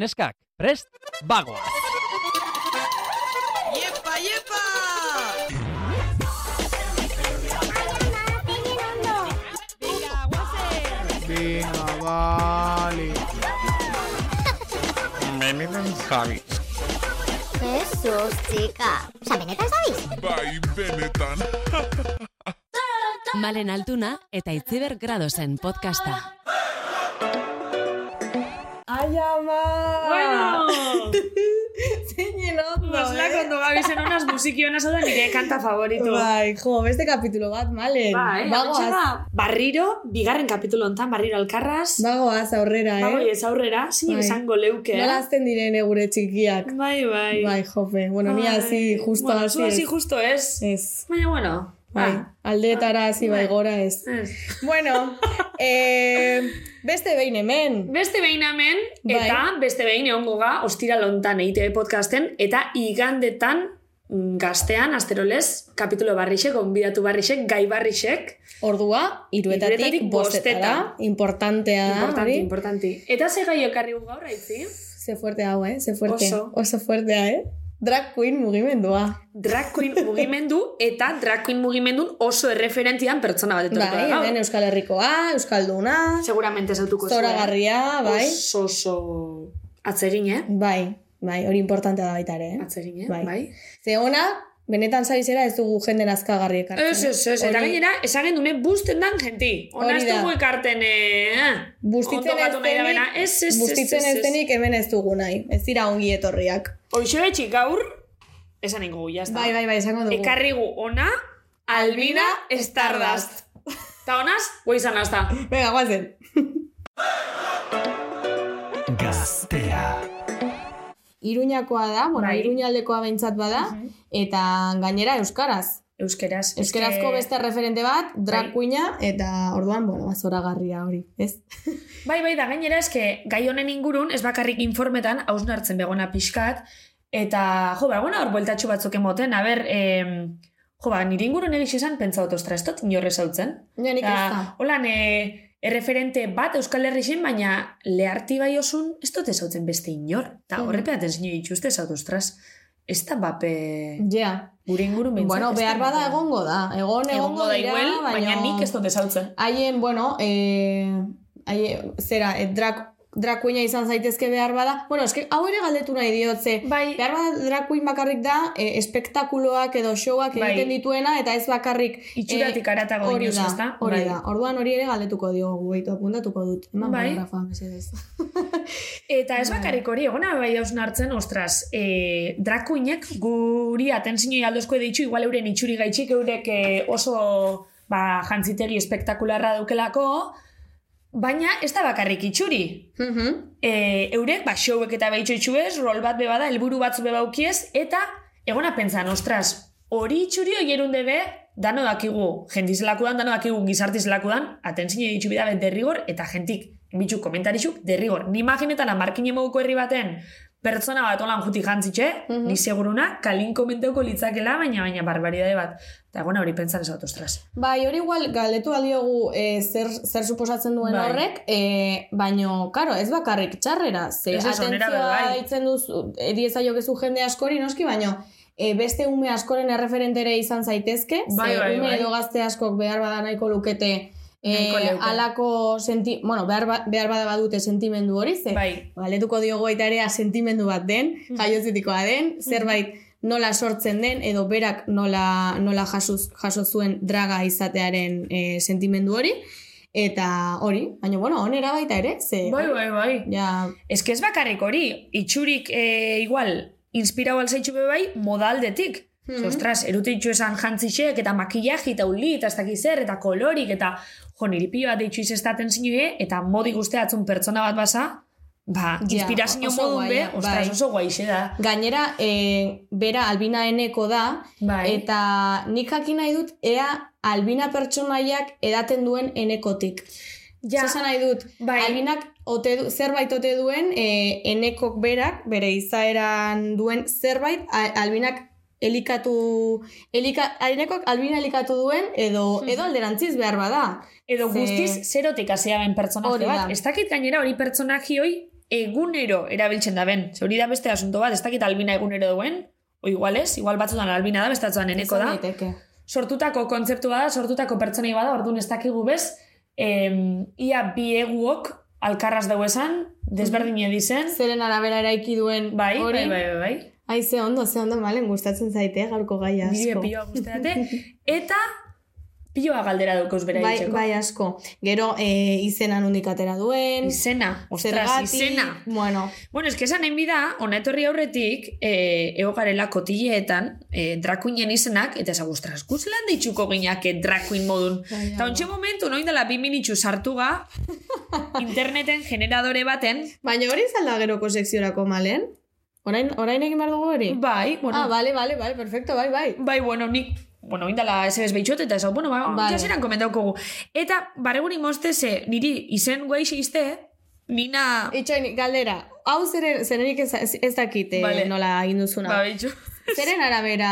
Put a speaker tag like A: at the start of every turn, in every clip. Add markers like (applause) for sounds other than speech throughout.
A: Neskak, prest, bagoa!
B: Iepa, iepa!
C: Venga, vale.
D: Jesus, txika. Osa, benetan zabiz?
E: Malen Altuna eta Itziber Gradosen podcasta.
F: Ai, ama! (laughs)
G: Bueno,
F: Zeinen ondo,
G: pues la
F: eh?
G: cuando va a haber unas musiquionas a nire kanta favorito.
F: Bai, jo, beste kapitulo bat, malen.
G: Bai,
F: bagoaz,
G: ba, barriro, bigarren kapitulo hontan barriro alkarraz.
F: bagoaz aurrera, eh?
G: Bago ez aurrera, zin
F: Bai.
G: esango leuke. eh?
F: Nola azten direne gure txikiak.
G: Bai, bai.
F: Bai, jope. Bueno, ni
G: Bai.
F: hazi, justo
G: bueno,
F: hazi.
G: zu
F: ez.
G: hasi justo ez.
F: Ez.
G: Baina, bueno.
F: Bai,
G: ba,
F: aldeetara hazi bai
G: Bai.
F: gora
G: (laughs)
F: ez.
G: ez.
F: (laughs) Bueno, eh, beste behin hemen.
G: Beste behin hemen,
F: Bai.
G: eta beste behin egon goga, ostira lontan E EITB podcasten, eta igandetan mm, gaztean, asterolez, kapitulo barrixek, onbidatu barrixek, gai barrixek,
F: Ordua, iruetatik
G: Hiruetatik
F: bostetara.
G: bosteta.
F: Importantea da.
G: Importante,
F: Ah, hori.
G: importante. Eta ze gai ekarri gu gaur, aitzi?
F: Ze fuerte hau, eh? Ze fuerte.
G: Oso.
F: Oso fuertea, eh? Drag queen mugimendua.
G: Drag
F: (laughs)
G: queen mugimendu eta drag queen mugimendun oso erreferentzian pertsona bat etorriko
F: Bai,
G: da gaur.
F: hemen Euskal Herrikoa, Euskalduna,
G: Seguramente zautuko
F: zoragarria, bai.
G: Oso, oso atzegin, eh?
F: Bai, bai, hori importantea da baita ere, eh?
G: Atzegin, eh?
F: Bai.
G: Bai.
F: Ze ona, benetan sari zera ez dugu jenden azkagarri ekartzen.
G: Ez, ez, ez. Eta
F: Hori
G: gainera, esagen dune busten dan jenti. Ona
F: Hori
G: ez
F: da.
G: dugu ekarten, eh?
F: Bustitzen
G: Ondo batu nahi da
F: ez
G: bena. Ez, ez, ez,
F: Bustitzen
G: ez,
F: ez
G: ez.
F: denik hemen ez dugu nahi. Ez dira ongi etorriak.
G: Hoxo etxik gaur, esan ingo gu, jazta.
F: Bai, bai, bai, esango dugu.
G: Ekarrigu ona, Albina Stardust. Ta honaz, goizan hasta.
F: Venga, guazen.
A: Gaztea.
F: Iruñakoa da, bueno,
G: Bai.
F: Iruñaldekoa behintzat bada, eta gainera euskaraz.
G: Euskeraz.
F: Euskarazko beste referente bat, drag
G: Bai.
F: queena, eta orduan, bueno, ba, zoragarria hori, ez?
G: Bai, bai, da gainera, eske, gai honen ingurun, ez bakarrik informetan, hausnartzen begona pixkat, eta, jo, ba, egona hor bueltatxu batzuk emoten, aber, em, jo, ba, nire ingurun egitxe esan, pentsa dut, ostra, ez dut inorrez hautzen.
F: Ja, nik ez da.
G: holan, e, erreferente bat Euskal Herri zen, baina leharti bai osun, ez dut ez hautzen beste inor. Eta
F: Mhm.
G: horrepeaten zinu dituzte, ez dut, ostras, ez da bape,
F: Ja.
G: gure ingurun behintzat.
F: Bueno,
G: ez da
F: behar bada
G: bape-
F: egongo da. Egon egongo,
G: egongo da
F: dira,
G: igual,
F: baina...
G: baina nik ez dut ez hautzen.
F: Haien, bueno, eh, haie, zera, eh, drag, drag queena izan zaitezke behar bada. Bueno, eske, hau ere galdetu nahi diotze.
G: Bai,
F: Behar bada drag queen bakarrik da, eh, espektakuloak edo showak
G: Bai.
F: egiten dituena, eta ez bakarrik eh,
G: itxuratik aratago
F: hori
G: inoiz,
F: da,
G: ez da?
F: hori
G: Bai.
F: da. Orduan hori ere galdetuko diogu, behitu apuntatuko dut. Eman
G: Bai.
F: paragrafoa, mesedez.
G: Eta ez
F: Bai.
G: bakarrik hori, egona bai hausnartzen, ostras, e, drakuinek guri atenzinoi aldozko ditxu, igual euren itxuri gaitxik, eurek e, oso ba, jantzitegi espektakularra daukelako, baina ez da bakarrik itxuri. E, eurek, ba, showek eta behitxo itxuez, rol bat bebada, helburu batzu bebaukiez, eta egona pentsan, ostras, hori itxuri oierun debe, dano dakigu, jendizelakudan, dano dakigu, gizartizelakudan, atentzine ditxu bidabe derrigor, eta jentik, bitxu komentaritxuk, derrigor. Ni imaginetan markin emoguko herri baten, pertsona bat olan juti jantzitxe,
F: Mhm.
G: ni seguruna, kalin komenteuko litzakela, baina baina barbaridade bat. Eta egona hori pentsan ez dut, ostras.
F: Bai, hori igual galdetu aldiogu eh, zer, zer suposatzen duen
G: Bai.
F: horrek, eh, baino, karo, ez bakarrik txarrera, ze
G: Ez, ez, onera
F: atentzioa
G: be, bai.
F: deitzen duzu, erieza jokezu jende askori, noski, baino, eh, beste ume askoren erreferentere izan zaitezke,
G: Bai,
F: ze
G: bai,
F: ume
G: bai.
F: edo gazte askok behar bada nahiko lukete, eh,
G: Nahiko leuke.
F: alako senti, bueno, behar, ba- behar bada badute sentimendu hori, ze
G: Bai,
F: Galetuko Ba, diogu baita ere sentimendu bat den,
G: Mm.
F: jaiotzitikoa den, zerbait nola sortzen den edo berak nola, nola jasuz, jaso zuen draga izatearen eh, sentimendu hori. Eta hori, baina bueno, onera baita ere, ze...
G: bai, bai, bai.
F: Ja,
G: Ez que ez bakarrik hori, itxurik e, igual, inspirau alzaitxu be bai, modaldetik. Mm
F: Mhm.
G: Ostras, erute itxu esan jantzisek, eta makillaji, eta uli, eta ez dakit zer, eta kolorik, eta jo, niri pilo bat deitxu izestaten zinue, eta modi guztia atzun pertsona bat basa, ba,
F: Ja,
G: inspirazio
F: oso
G: modun be,
F: guaia,
G: ostras,
F: bai.
G: oso guaixe da.
F: gainera, eh, bera albina eneko da,
G: Bai.
F: eta nik jakin nahi dut, ea albina pertsonaiak edaten duen enekotik. Ja.
G: ja,
F: Zesan nahi dut,
G: bai,
F: Albinak ote du, zerbait ote duen, e, enekok berak, bere izaeran duen zerbait, a- albinak elikatu, elika, enekok albina elikatu duen,
G: (laughs)
F: edo, edo alderantziz behar bada.
G: edo
F: ze-
G: guztiz zerotik hasia ben pertsonaje
F: Hori da.
G: bat. Ez dakit gainera hori pertsonaje hoi egunero erabiltzen da ben. Ze hori da beste asunto bat, ez dakit albina egunero duen, o igual ez, igual batzutan albina da, beste batzutan eneko da.
F: Daiteke.
G: Sortutako kontzeptua da, sortutako pertsonei bada, orduan ez dakigu bez, em, ia bi eguok alkarraz dugu esan, desberdin edizen,
F: Zeren arabera eraiki duen
G: bai,
F: hori.
G: bai, bai, bai, bai.
F: Ai, ze ondo, ze ondo, malen, gustatzen zaite eh, gaurko gai
G: Nire
F: asko.
G: pioa guztetate,
F: (laughs)
G: eta pioa galdera dukoz bera
F: Bai,
G: itxeko.
F: bai asko. Gero eh, izena nondik atera duen,
G: Izena, ostras,
F: zergatik,
G: izena.
F: Bueno,
G: Bueno, eske esan hain bida, ona etorri aurretik, e, eogarela kotilleetan, e, drakuinen izenak, eta esan, ostras, guz lan ditxuko gineake drakuin eh, modun.
F: Bai,
G: Eta
F: hau.
G: ontsi momentu, noin dela bi minitxu sartu
F: (laughs)
G: ga, interneten generadore baten,
F: baina hori izan da geroko sekziorako malen? Orain, orain egin behar dugu hori?
G: bai, bueno,
F: Ah, bale, bale, bale, perfecto, bai, bai.
G: bai, bueno, nik, bueno, indala SBS behitxot, eta esan, bueno, ba,
F: Vale.
G: vale. jaseran komentaukogu. Eta, barregun imozte ze, niri izen guaixe izte, nina...
F: Itxoin, galdera, hau zeren, zerenik ez, ez- ez dakite
G: Vale.
F: nola egin duzuna.
G: Ba, behitxo.
F: Zeren arabera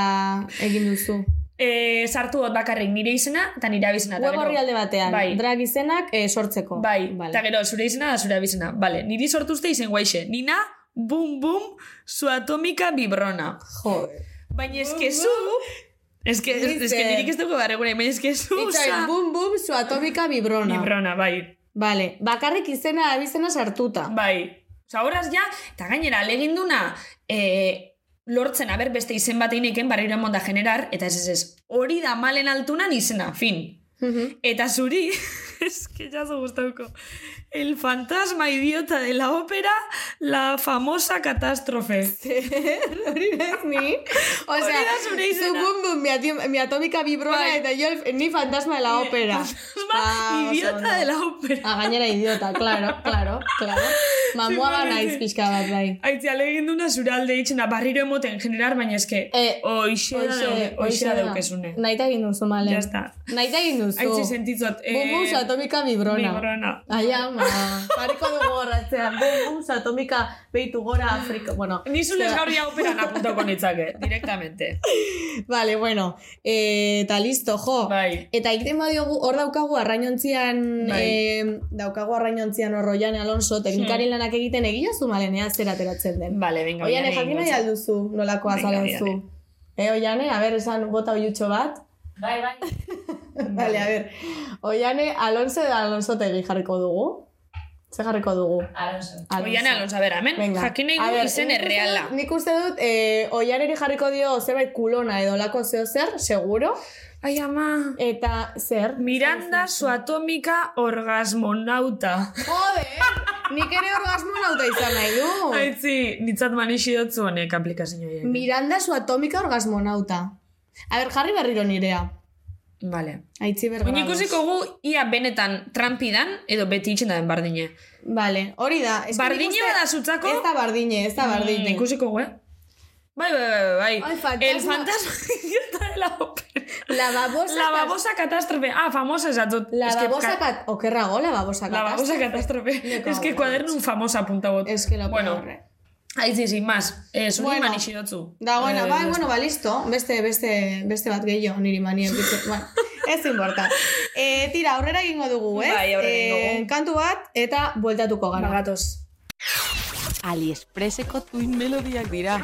F: egin duzu?
G: E, sartu dut bakarrik nire izena, eta nire abizena. eta
F: Web
G: gero-
F: horri alde batean,
G: Bai.
F: drag izenak eh, sortzeko.
G: Bai,
F: Vale.
G: eta gero, zure izena da zure abizena. Bale, niri sortuzte izen guaixe. Nina, bum, bum, su atomika bibrona.
F: Joder.
G: Baina eske zu... Eske,
F: Dice.
G: eske nirik ez dugu barregura, baina eske zu...
F: Itxoin,
G: sa-
F: bum, bum, su atomika vibrona.
G: Bibrona, bai,
F: Vale, bakarrik izena abizena sartuta.
G: bai. Osa, horaz ja, eta gainera, aleginduna, e, lortzen, aber, beste izen bat eineken barriro monda generar, eta ez ez ez, hori da malen altunan izena, fin.
F: (laughs) Mhm.
G: Eta zuri, (laughs) es que ya se gustauko, el fantasma idiota de la ópera, la famosa catástrofe.
F: Hori da ez ni. O
G: Hori
F: sea,
G: da zure izena.
F: zu bum bum, mi, ati- mi atómica vibrona
G: Bai.
F: eta yo el- ni fantasma de la ópera.
G: Fantasma idiota de la ópera.
F: Ah, gainera idiota, claro, claro,
G: (laughs)
F: claro. Mamua
G: Sí,
F: ba
G: bai.
F: naiz pixka bat, bai.
G: Aitzi, alegin duna zure alde itxena, barriro emoten generar, baina eske,
F: Eh,
G: oixe da deu- oixe da daukezune.
F: Nahi da egin duzu, male.
G: Ya está.
F: Nahi da egin duzu.
G: Aitzi sentitzot. eh,
F: Bum bum, su atómica vibrona.
G: Bibrona.
F: Ai, ama. Jarriko dugu horratzean. Bum bum, su atómica beitu gora Afrika. Bueno,
G: Ni zules
F: zera.
G: gaur ja
F: (laughs)
G: operan apuntako nitzake, directamente.
F: Vale, bueno, eh, eta listo, jo.
G: Bai.
F: Eta egiten badiogu, hor daukagu arrainontzian,
G: Bai. Hmm.
F: eh, daukagu arrainontzian hor Oian Alonso, teknikari lanak egiten egia zu malenea zer ateratzen den.
G: Vale, venga.
F: Oian,
G: oian,
F: jakin
G: egingo
F: nahi
G: zait.
F: alduzu nolako
G: Venga,
F: azalen
G: Oiane.
F: zu. Eh, Oiane, a ber, esan bota oiutxo bat. Bai, bai. (laughs) vale, a ber. Oiane, Alonso edo Alonso tegi jarriko dugu. Zer jarriko dugu? Alonso.
G: Oian, alonso, a ver, amen,
F: Venga.
G: jakin
F: A eh,
G: egin
F: ber,
G: izen
F: nik uste
G: erreala.
F: dut- Nik uste dut, eh, oianeri jarriko dio zerbait kulona edo lako zeo zer, seguro.
G: Ai, ama.
F: Eta zer?
G: Miranda, su atómica orgasmonauta.
F: Joder, nik ere orgasmo nauta izan nahi du.
G: Aitzi, nitzat manixi dotzu honek aplikazio horiek.
F: Miranda su atomika orgasmo nauta. A ber, jarri berriro nirea.
G: Vale.
F: Aitzi bergrados.
G: Oin ikusiko gu, ia benetan trampidan, edo beti itxen da den bardine.
F: Vale, hori da. Ez que nik
G: Bardine
F: uste-
G: bada zutzako?
F: Ez da bardine, ez da bardine.
G: Mm, ikusiko gu, eh? Bai, bai, bai, bai.
F: Ai, fantasma.
G: El fantasma (laughs) idiota de la ópera.
F: Lavabosa.
G: Lavabosa katastrofe. Ah, famosa esatzot.
F: Lavabosa kat... Okerrago, lavabosa kat.
G: Lavabosa katastrofe.
F: Lekago,
G: Es que kuadernun famosa punta bot.
F: Ez que lo
G: Bueno,
F: peor. eh.
G: aitzi, sin más. Eh, zuri
F: Bueno.
G: manixi dotzu.
F: Dagoena,
G: Eh,
F: bai, bueno, ba, listo. Beste, beste, beste bat gehiago niri manien. bitxe.
G: (laughs)
F: bueno, ez importa. Eh, tira, aurrera egingo dugu, eh?
G: Bai, aurrera egingo
F: Eh,
G: dugu.
F: kantu bat eta bueltatuko gara.
G: Bagatoz.
B: Aliexpreseko tuin melodiak dira.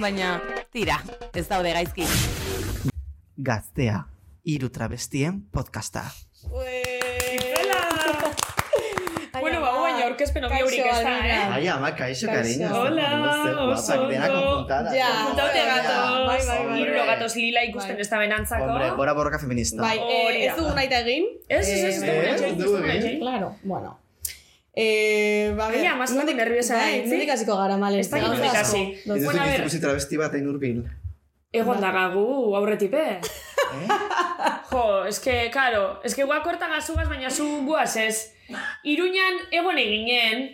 B: Baina, tira, ez daude gaizki.
A: Gaztea, hiru trabestien podcasta.
F: Ai,
G: Bueno, ba,
F: ama.
G: baina aurkezpen hori haurik ez da,
F: Kaixo,
G: eh?
F: Almira.
H: Ay, ama, kaixo,
F: Kaixo.
H: cariño.
G: Hola,
H: Zer guapak,
G: oso
H: denak
G: ondo.
H: konpuntadas.
F: Ja.
G: Kontaute
F: Bai,
G: gatoz.
F: bai, bai, bai.
G: Hirulo gatoz lila ikusten
F: Bai.
G: ez da benantzako.
H: Hombre, bora borroka feminista.
F: Bai,
G: Hori
F: eh,
G: da.
F: ez dugu nahi da egin.
G: Ez, ez, ez, ez dugu
H: Eh,
G: nahi, ez
H: ez
G: dugu
H: dugu
G: nahi.
F: Claro, bueno. Eh, ba,
G: Ai, ama, zutik nerviosa eh,
F: bai,
G: nahi,
F: nondik
G: zi?
F: hasiko gara, malen.
G: Ez dakit
F: Gauza
G: nondik
F: asko.
G: hasi.
H: Ez
F: Dozu-
H: dut
G: Bueno, a ver. ¿Eh?
H: ikusi travesti bat hain urbil.
G: Egon dagagu aurretipe.
F: (laughs)
H: Eh,
G: Jo, eske, karo, eske guak hortan azugaz, baina zu guaz ez. Iruñan egon eginen,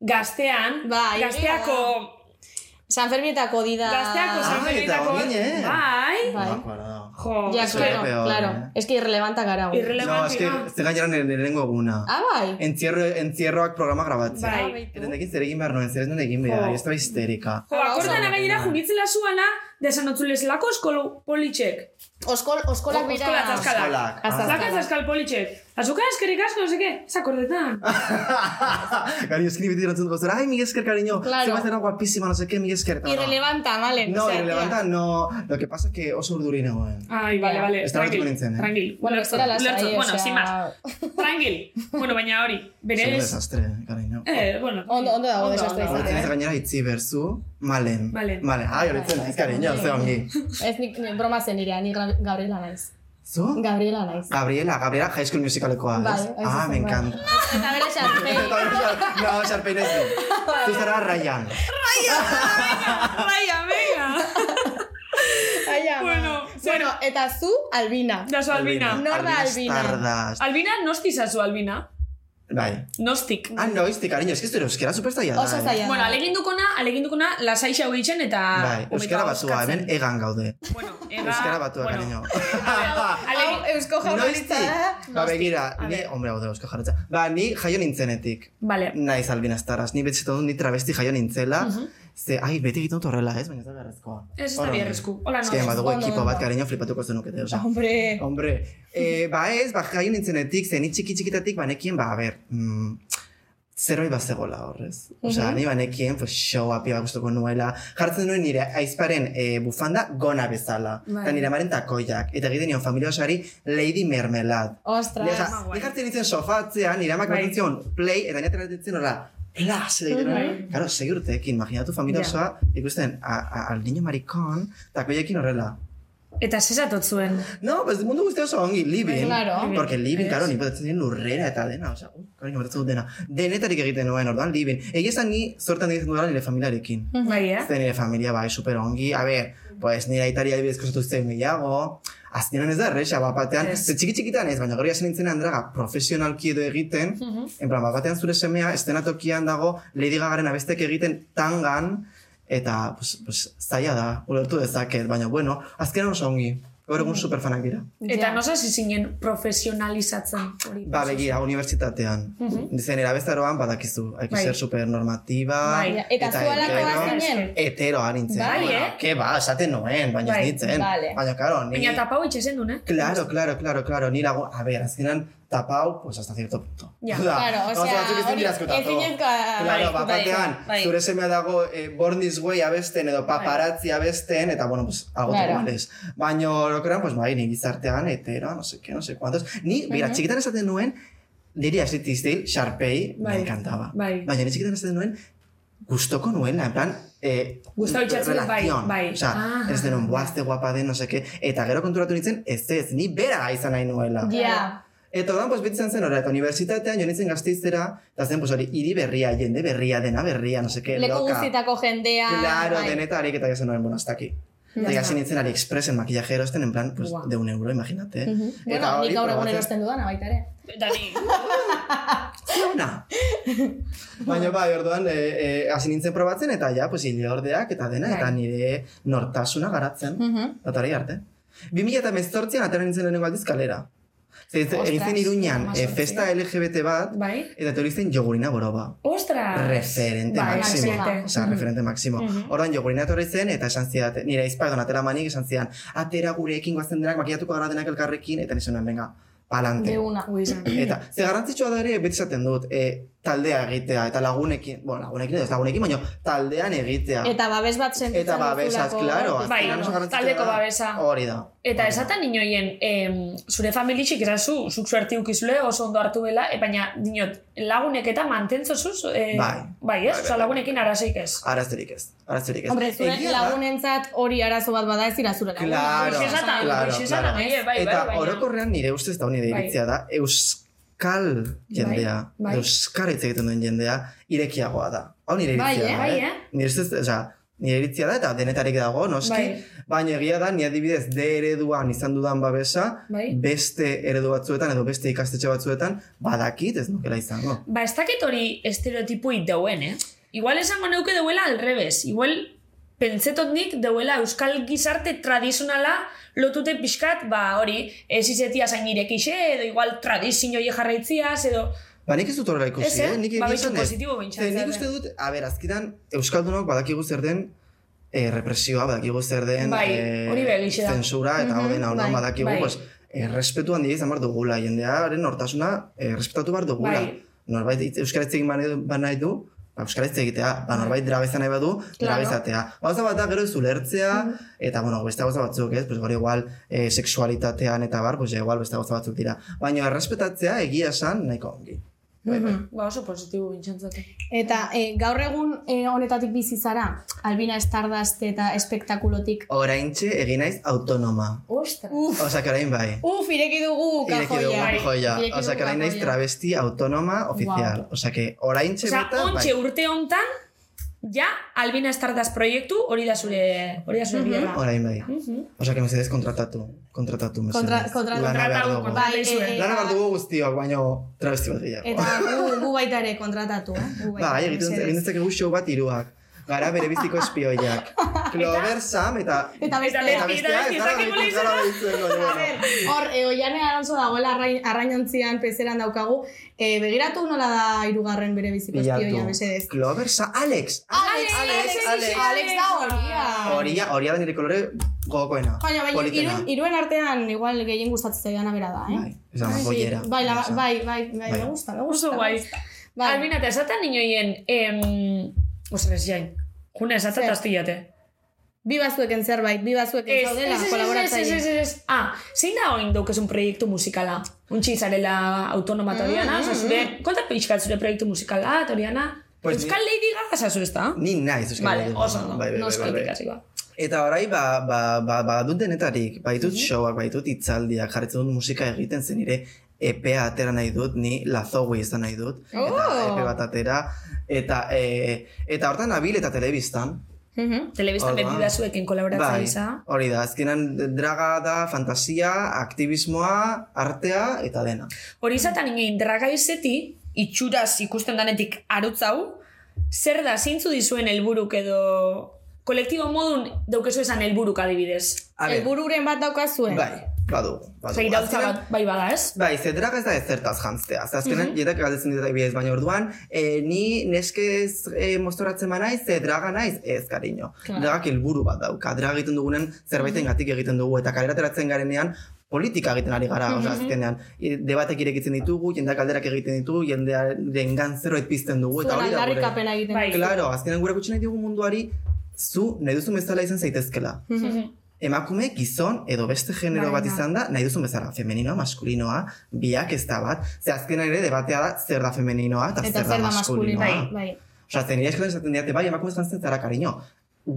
G: gaztean,
F: Bai, egia
G: gazteako,
F: San Fermietako dida.
G: gazteako
H: Ah,
G: zanberritako.
H: eta ginen.
G: Bai,
H: No me
F: Bai.
H: acuerdo.
G: jo,
F: Ja,
H: Eso
F: claro,
H: era peor,
F: claro.
H: eh.
F: Es que irrelevanta gara. hau.
H: No, es que
G: irrelevantia.
H: ez gainera nire lehenengo eguna.
F: Ah, bai.
H: Entierro, entierroak programa grabatzen.
G: Bai.
H: Eta nekin zer egin behar nuen, zer ez nuen egin behar,
G: Jo.
H: ez da histerika.
G: Jo, akordan againera junitzela zuala, desan otzulezelako eskolo politxek.
F: Oskol, oskolak bera.
G: Oskola azkala.
H: Oskolak.
G: Azkala azkal politxek. Azuka eskerrik asko, no seke, zakordetan.
H: (laughs) Cariño, es que ni me tiran cosas. Ay, Miguel Esquer, cariño.
F: Claro.
H: Se va a hacer una guapísima, no sé qué, Miguel Esquer. No, no.
F: Irrelevanta, malen.
H: No, irrelevanta, no. Lo que pasa es que oso urduri nagoen.
G: Ai, bale, bale.
H: Ez da batuko nintzen, eh?
G: Tranquil.
F: Bueno, ez zara lasai,
G: ulertzen, bueno,
F: osea-
G: sin más.
F: (laughs)
G: Tranquil. bueno, baina hori,
H: Es un
G: bere ez...
H: desastre, cariño.
G: Eh, bueno.
F: Ondo- ondo dago, desastre (laughs) izan.
H: Horretzen ez gainera itzi berzu, malen. ah,
G: Malen.
H: Malen. Ai, horretzen ez, cariño, ze ongi.
F: Ez nik ni broma zen nirea, ni Gra- Gabriela naiz.
H: Zu?
F: Gabriela (laughs) naiz.
H: Gabriela, Gabriela High School Musicalekoa. ez?
F: Bai, hain
H: Ah,
F: zuzen,
H: me
F: bai.
G: (laughs)
H: encanta.
F: Eta bere xarpei. (laughs)
H: No, Sharpay ez du. Tú zara
G: (laughs)
H: Ryan.
G: Raia,
F: (laughs)
G: venga.
F: Ai, ama.
G: Bai, Bueno,
F: bueno,
G: bueno.
F: eta zu, Albina.
G: Dazu Albina.
F: Nor da Albina?
H: Tardas.
G: Albina, nosti zazu, Albina.
H: Bai.
G: Nostik.
H: Ah, noiztik, cariño, es que esto euskera superzaila da.
F: Oso
H: eh?
F: zaila.
G: Bueno,
F: da.
G: alegindukona, alegindukona, lasai xau egiten eta...
H: Bai,
G: hobeto
H: euskera batua,
G: ahoskatzen.
H: hemen egan gaude. (laughs)
G: Bueno, ega...
H: Euskera batua,
G: bueno, (laughs)
H: cariño.
F: Hau,
G: Alegi...
F: Eusko Jaurlaritza eh? da.
H: Noiztik? Ba, begira,
G: A
H: ni,
G: ver.
H: hombre, hau da eusko jarretza. Ba, ni jaio nintzenetik.
G: Vale.
H: Naiz albina estaraz, ni beti dut ni travesti jaio nintzela. Ze, ai, beti egiten dut horrela, ez? Baina ez da beharrezkoa.
G: Ez ez da
H: Horren.
G: biherrezku. Hola,
H: Ez que
G: no.
H: badugu
F: Ondo,
H: ekipo
F: ondo.
H: bat, cariño, flipatuko zenukete, oza.
F: Hombre.
H: Hombre, eh, ba ez, ba jaio nintzenetik, zen txiki txikitatik banekien, ba, a ber, mm, zerbait bat zegoela horrez. Osea, ni banekien, pues, show api bat guztoko nuela. Jartzen nuen nire aizparen eh, bufanda gona bezala.
G: Bai.
H: Eta nire amaren takoiak. Eta egiten nion familia osari Lady Mermelad.
F: Ostras.
H: Ni, osea,
G: guai.
H: ni jartzen nintzen sofatzean, nire amak
G: Bai.
H: bat zion play, eta nire ateratzen horrela, plas, edo egiten nuen. Claro, segi urteekin, imaginatu familia
G: Ja.
H: osoa, ikusten, a, a, al niño maricón, takoiekin horrela.
G: Eta zesatot zuen.
H: No, pues mundu guztia oso ongi, living.
F: Claro.
H: Porque living,
G: Ez.
H: karo, ni botatzen dien lurrera eta dena, osea, uh, karo, ni botatzen dut dena. Denetarik egiten nuen, orduan, living. Egi esan ni sortan egiten dudala nire familiarekin.
G: Bai, eh?
H: Zer nire familia, bai, super ongi. A ber, pues nire aitari adibidez kosatu zen gehiago. Azken honen ez da erresa, bat batean,
G: Ez.
H: ze txiki txikitan ez, baina gero jasen nintzen handraga profesionalki edo egiten,
G: Mhm.
H: en plan, bat batean zure semea, estenatokian dago, Lady Gagaren abestek egiten tangan, eta, pues, pues zaila da, ulertu dezaket, baina, bueno, azkenan oso ongi. Gaur
G: Mhm.
H: egun superfanak dira.
G: Eta nosa zizinen profesionalizatzen. hori.
H: Ba, begira, unibertsitatean. Mm -hmm. Zen, erabezaroan, badakizu, haik
G: Mhm. Bai.
H: zer supernormatiba.
G: Bai.
F: Eta zu alakoa
H: hetero.
F: zinen.
H: Heteroa ah, nintzen.
G: Bai,
H: bueno,
G: eh?
H: Ke ba, esaten noen, baina
G: Bai,
H: ez nintzen.
F: vale.
H: Baina, karo, ni...
G: Baina tapau itxezen du, ne?
H: Claro, claro, claro, claro, ni lago, a ver, azkenan tapau, pues hasta cierto punto.
G: Ja,
H: Da,
F: claro,
H: gauza
F: osea,
H: batzuk ezin
F: hori
H: dira ezkutatu.
F: ezinezkoa da.
H: Claro,
F: Bai,
H: bat
F: bai,
H: batean,
F: bai.
H: zure semea dago eh, Born This Way abesten edo paparazzi
G: Bai.
H: abesten, eta bueno, pues, agotu
F: Claro.
H: claro. iguales. Baina, lokeran, pues, bai, ni gizartean, etero, no sé qué, no sé cuántos. Ni, mira, txikitan esaten nuen, niri Ashley Tisdale, Sharpay,
G: Bai.
H: me encantaba.
G: Bai.
H: Baina, ni txikitan esaten nuen, gustoko nuela, en plan, eh,
G: Gustau itxatzen dut, bai,
H: relación.
G: bai.
H: Osa,
G: Ah.
H: ez denon, buazte guapa den, no seke, eta gero konturatu nintzen, ez ez, ni bera izan nahi nuela.
F: Ja.
H: Eta ordan, pues, beti izan zen horrela, eta unibertsitatean joan nintzen gazteiztera, eta zen, pues, hori, hiri berria, jende berria, dena berria, no seke,
F: Leku
H: loka.
F: guztietako jendea.
H: Claro,
F: bai.
H: denetarik eta jasen noen, bueno, hasta aquí. Eta
G: está.
H: jasen nintzen AliExpressen makillaje erosten, en plan, pues,
G: Buah.
H: de un euro, imagínate.
F: Bueno, nik gaur egun
H: probatzen-
F: erosten dudana baita ere.
G: Eta ni.
F: (laughs)
H: Ona. Baina bai, orduan, hasi e, hasi nintzen probatzen, eta ja, pues, hile ordeak, eta dena,
F: Bai.
H: eta nire nortasuna garatzen, mm
F: Mhm.
H: eta hori arte. 2000 eta mezortzian, atera nintzen lehenengo aldiz kalera. Ze- ze- Egin zen iruñan, e, festa LGBT bat,
G: Bai.
H: eta etorri zen jogurina boroba.
G: Ostras.
H: Referente
G: Bai,
H: máximo.
G: referente.
H: O sea, referente máximo. Ordan jogurina etorri zen, eta esan zidat, nire aizpa edo natela manik esan zidan, atera gurekin guazen denak, makiatuko gara denak elkarrekin, eta nizuen, venga, palante.
F: De una.
G: Ui, izan.
H: Eta, ze garrantzitsua da ere, beti esaten dut, e, taldea egitea, eta lagunekin, bueno, lagunekin, ez lagunekin, baina taldean egitea.
F: Eta babes bat sentitzen
H: Eta babesaz,
F: duzulako.
H: klaro.
G: Bai,
H: azkenean oso garrantzitsua
G: taldeko
H: da.
G: babesa.
H: Hori da.
G: Eta esatan inoien, em, zure familitxik erazu, zuk zuerti ukizule oso ondo hartu bela, e, baina dinot, lagunek eta mantentzozuz, eh,
H: Bai.
G: bai, ez?
H: Bai,
G: Osa,
H: bai,
G: lagunekin arazeik ez.
H: Arazerik ez. Arazerik ez.
F: Hombre, zure
H: Egia da-
F: lagunentzat hori arazo bat bada ez dira zure lagun.
H: Claro,
G: Pues esatan,
H: claro,
G: pues esatan,
H: claro.
G: eh, bai, bai,
H: Eta
G: baina-
H: orokorrean nire ustez da honi da
G: Bai.
H: iritzia da, euskal jendea,
G: bai.
H: euskara hitz egiten duen jendea, irekiagoa da. Hau nire
F: Bai,
H: iritzia
F: eh?
H: da,
G: Bai, eh?
H: Nire ustez, oza, nire iritzia da eta denetarik dago, noski,
G: Bai.
H: baina egia da, nire adibidez, de ereduan izan dudan babesa,
G: Bai.
H: beste eredu batzuetan edo beste ikastetxe batzuetan, badakit ez nukela izango.
G: Ba, ez dakit hori estereotipui deuen, eh? Igual esango neuke deuela alrebez. Igual pentsetot nik deuela euskal gizarte tradizionala lotute pixkat, ba, hori, ez izetia zain irekixe, edo igual tradizio hie jarraitziaz, edo...
H: Ba, nik ez dut horrela ikusi,
G: Ez, eh?
H: eh? Nik
G: Ba,
H: egia esan
G: beitu
H: ez.
G: positibo behintzat,
H: Ze, Nik
G: zara.
H: uste dut, a ber, azkidan, Euskaldunok badakigu zer den, eh, represioa, badakigu zer den,
G: Bai,
H: eh,
G: hori be, egixe da.
H: zensura, eta mm
F: Mhm,
H: -hmm, hau
F: bai,
H: badakigu,
G: bai.
H: pues, errespetu handia izan behar dugula, jendearen hortasuna errespetatu behar dugula.
G: Bai.
H: Norbait hitz- euskaraz egin ba nahi du, ba, euskaraz hitz egitea, ba, norbait drabeza nahi badu,
G: Claro.
H: drabezatea. Gauza bat da gero ez ulertzea, eta bueno, beste gauza batzuk, ez? Pues, hori igual eh, sexualitatean eta bar, pues, ja, igual beste gauza batzuk dira. Baina errespetatzea egia esan nahiko ongi. Bai, bai.
G: Ba, oso positibo bintxantzatu.
F: Eta eh, gaur egun eh, honetatik bizi zara, Albina Stardust eta espektakulotik.
H: Oraintxe egin naiz autonoma.
G: Ostra.
F: Uf,
H: Osa, que orain bai.
F: uf, ireki dugu
H: Ireki dugu
F: kajoia.
H: joia.
F: Ireki
H: Osa,
F: dugu
H: que orain naiz
F: kajoia.
H: travesti autonoma ofizial. Osa, que oraintxe bai.
G: Osa,
H: beta,
G: ontxe urte hontan, ja, Albina Stardust proiektu hori da zure, hori da zure mm
H: Orain bai. Osa, que mesedez kontratatu. Kontratatu, mesedez.
F: Kontra- kontra-
H: Lana behar dugu.
G: Bai, eh,
H: Lana behar dugu guztiok, baino travesti bat gehiago.
F: Eta gu, gu baita ere kontratatu, eh? Gu baita,
H: Bai, egiten
F: mesedez.
H: egin dezakegu show bat hiruak. Gara bere
F: (laughs)
H: biziko espioiak. Clover Sam eta...
F: Eta
G: Eta
F: beste,
H: Eta bestea,
G: Eta
H: ez dara
G: ezakegu
H: deitu, ez dara deitu, bueno.
F: hor, e, oiane aranzo dagoela arrain, arrainantzian pezeran daukagu, e, begiratu nola da hirugarren bere biziko espioia, mesedez.
H: Bilatu. Clover Sam... Alex!
F: Alex,
H: Alex, Alex.
F: Alex da horia.
H: Horia, horia da nire kolore gogokoena.
F: Baina, baina,
H: politena.
F: iruen, iruen artean igual gehien gustatzen zaidana bera da, eh?
H: Bai, ez da,
F: Bai, sí.
H: goiera.
F: Bai, la,
H: Esa.
F: bai, bai, bai,
H: Bai.
F: me gusta, me gusta.
G: Oso guai.
F: Bai.
G: Albina, eta esaten nioien, em, ostres, jain, juna esatzen
F: Zer?
G: taztillate.
F: Bi batzueken zerbait, bi batzueken
G: Ez,
F: zaudela,
G: ez, ez, ez, ez, ez,
F: kolaboratzaile.
G: ez, ez. Ah, zein da oin daukezun proiektu musikala? Untxi zarela autonoma eta diana, oza, zure, konta pixkat zure proiektu musikala, eta diana,
H: Pues
G: Euskal Lady Gaga zazu ez da?
H: Ni naiz euskal
G: Vale,
H: Herrian.
G: oso, no,
H: Bai, bai,
G: no
H: bai, bai,
G: eskaltik
H: bai.
G: hasi ba.
H: Eta orai, ba, ba, ba, ba dut denetarik, baitut showak, baitut hitzaldiak, jarretzen dut musika egiten zen nire EPEA atera nahi dut, ni lazogui izan nahi dut, eta
F: Oh!
H: EPE bat atera, eta, e, eta hortan abil eta telebistan.
F: Mhm.
G: Telebista
H: Orduan. Bai.
G: beti da zuekin kolaboratza iza.
H: hori da, azkenan draga da, fantasia, aktivismoa, artea, eta dena.
G: Hori izaten inoin, draga izeti, itxuraz ikusten danetik arotzau, zer da zintzu dizuen helburuk edo kolektibo modun daukezu esan helburuk adibidez.
H: A ber,
F: Helbururen bat daukazuen.
H: bai, badugu.
G: Osa,
H: badugu.
G: irautza
H: Azkenan-
G: bat bai bada, ez?
H: Bai, ze draga ez da ezertaz jantztea. Ze azkenan, mm
F: Mhm.
H: -hmm. galdetzen dut bidez, baina orduan, e, ni neskez e, moztoratzen ba naiz, ze draga naiz, ez, kariño. Dragak helburu bat dauka. Draga egiten dugunen zerbaiten
F: Mhm.
H: gatik egiten dugu, eta kalerateratzen garenean, politika egiten ari gara, mm
F: Mhm.
H: azkenean. E, debatek irekitzen ditugu, jendeak galderak egiten ditugu, jendearen ganzeroet pizten dugu, eta
F: Zuen
H: hori da gure...
F: aldarrikapena egiten.
G: Bai.
H: Claro, azkenan gure kutsi nahi dugu munduari, zu nahi duzun bezala izan zaitezkela. Emakume, gizon edo beste
F: Bai,
H: genero bat izan da, nahi duzun bezala, femeninoa, maskulinoa, biak ez da bat. Ze azken ere debatea da zer da femeninoa eta,
F: Eta zer da maskulinoa. Bai, bai.
H: Osa, zen nire eskola esaten diate, bai, emakumez jantzen zara, kariño.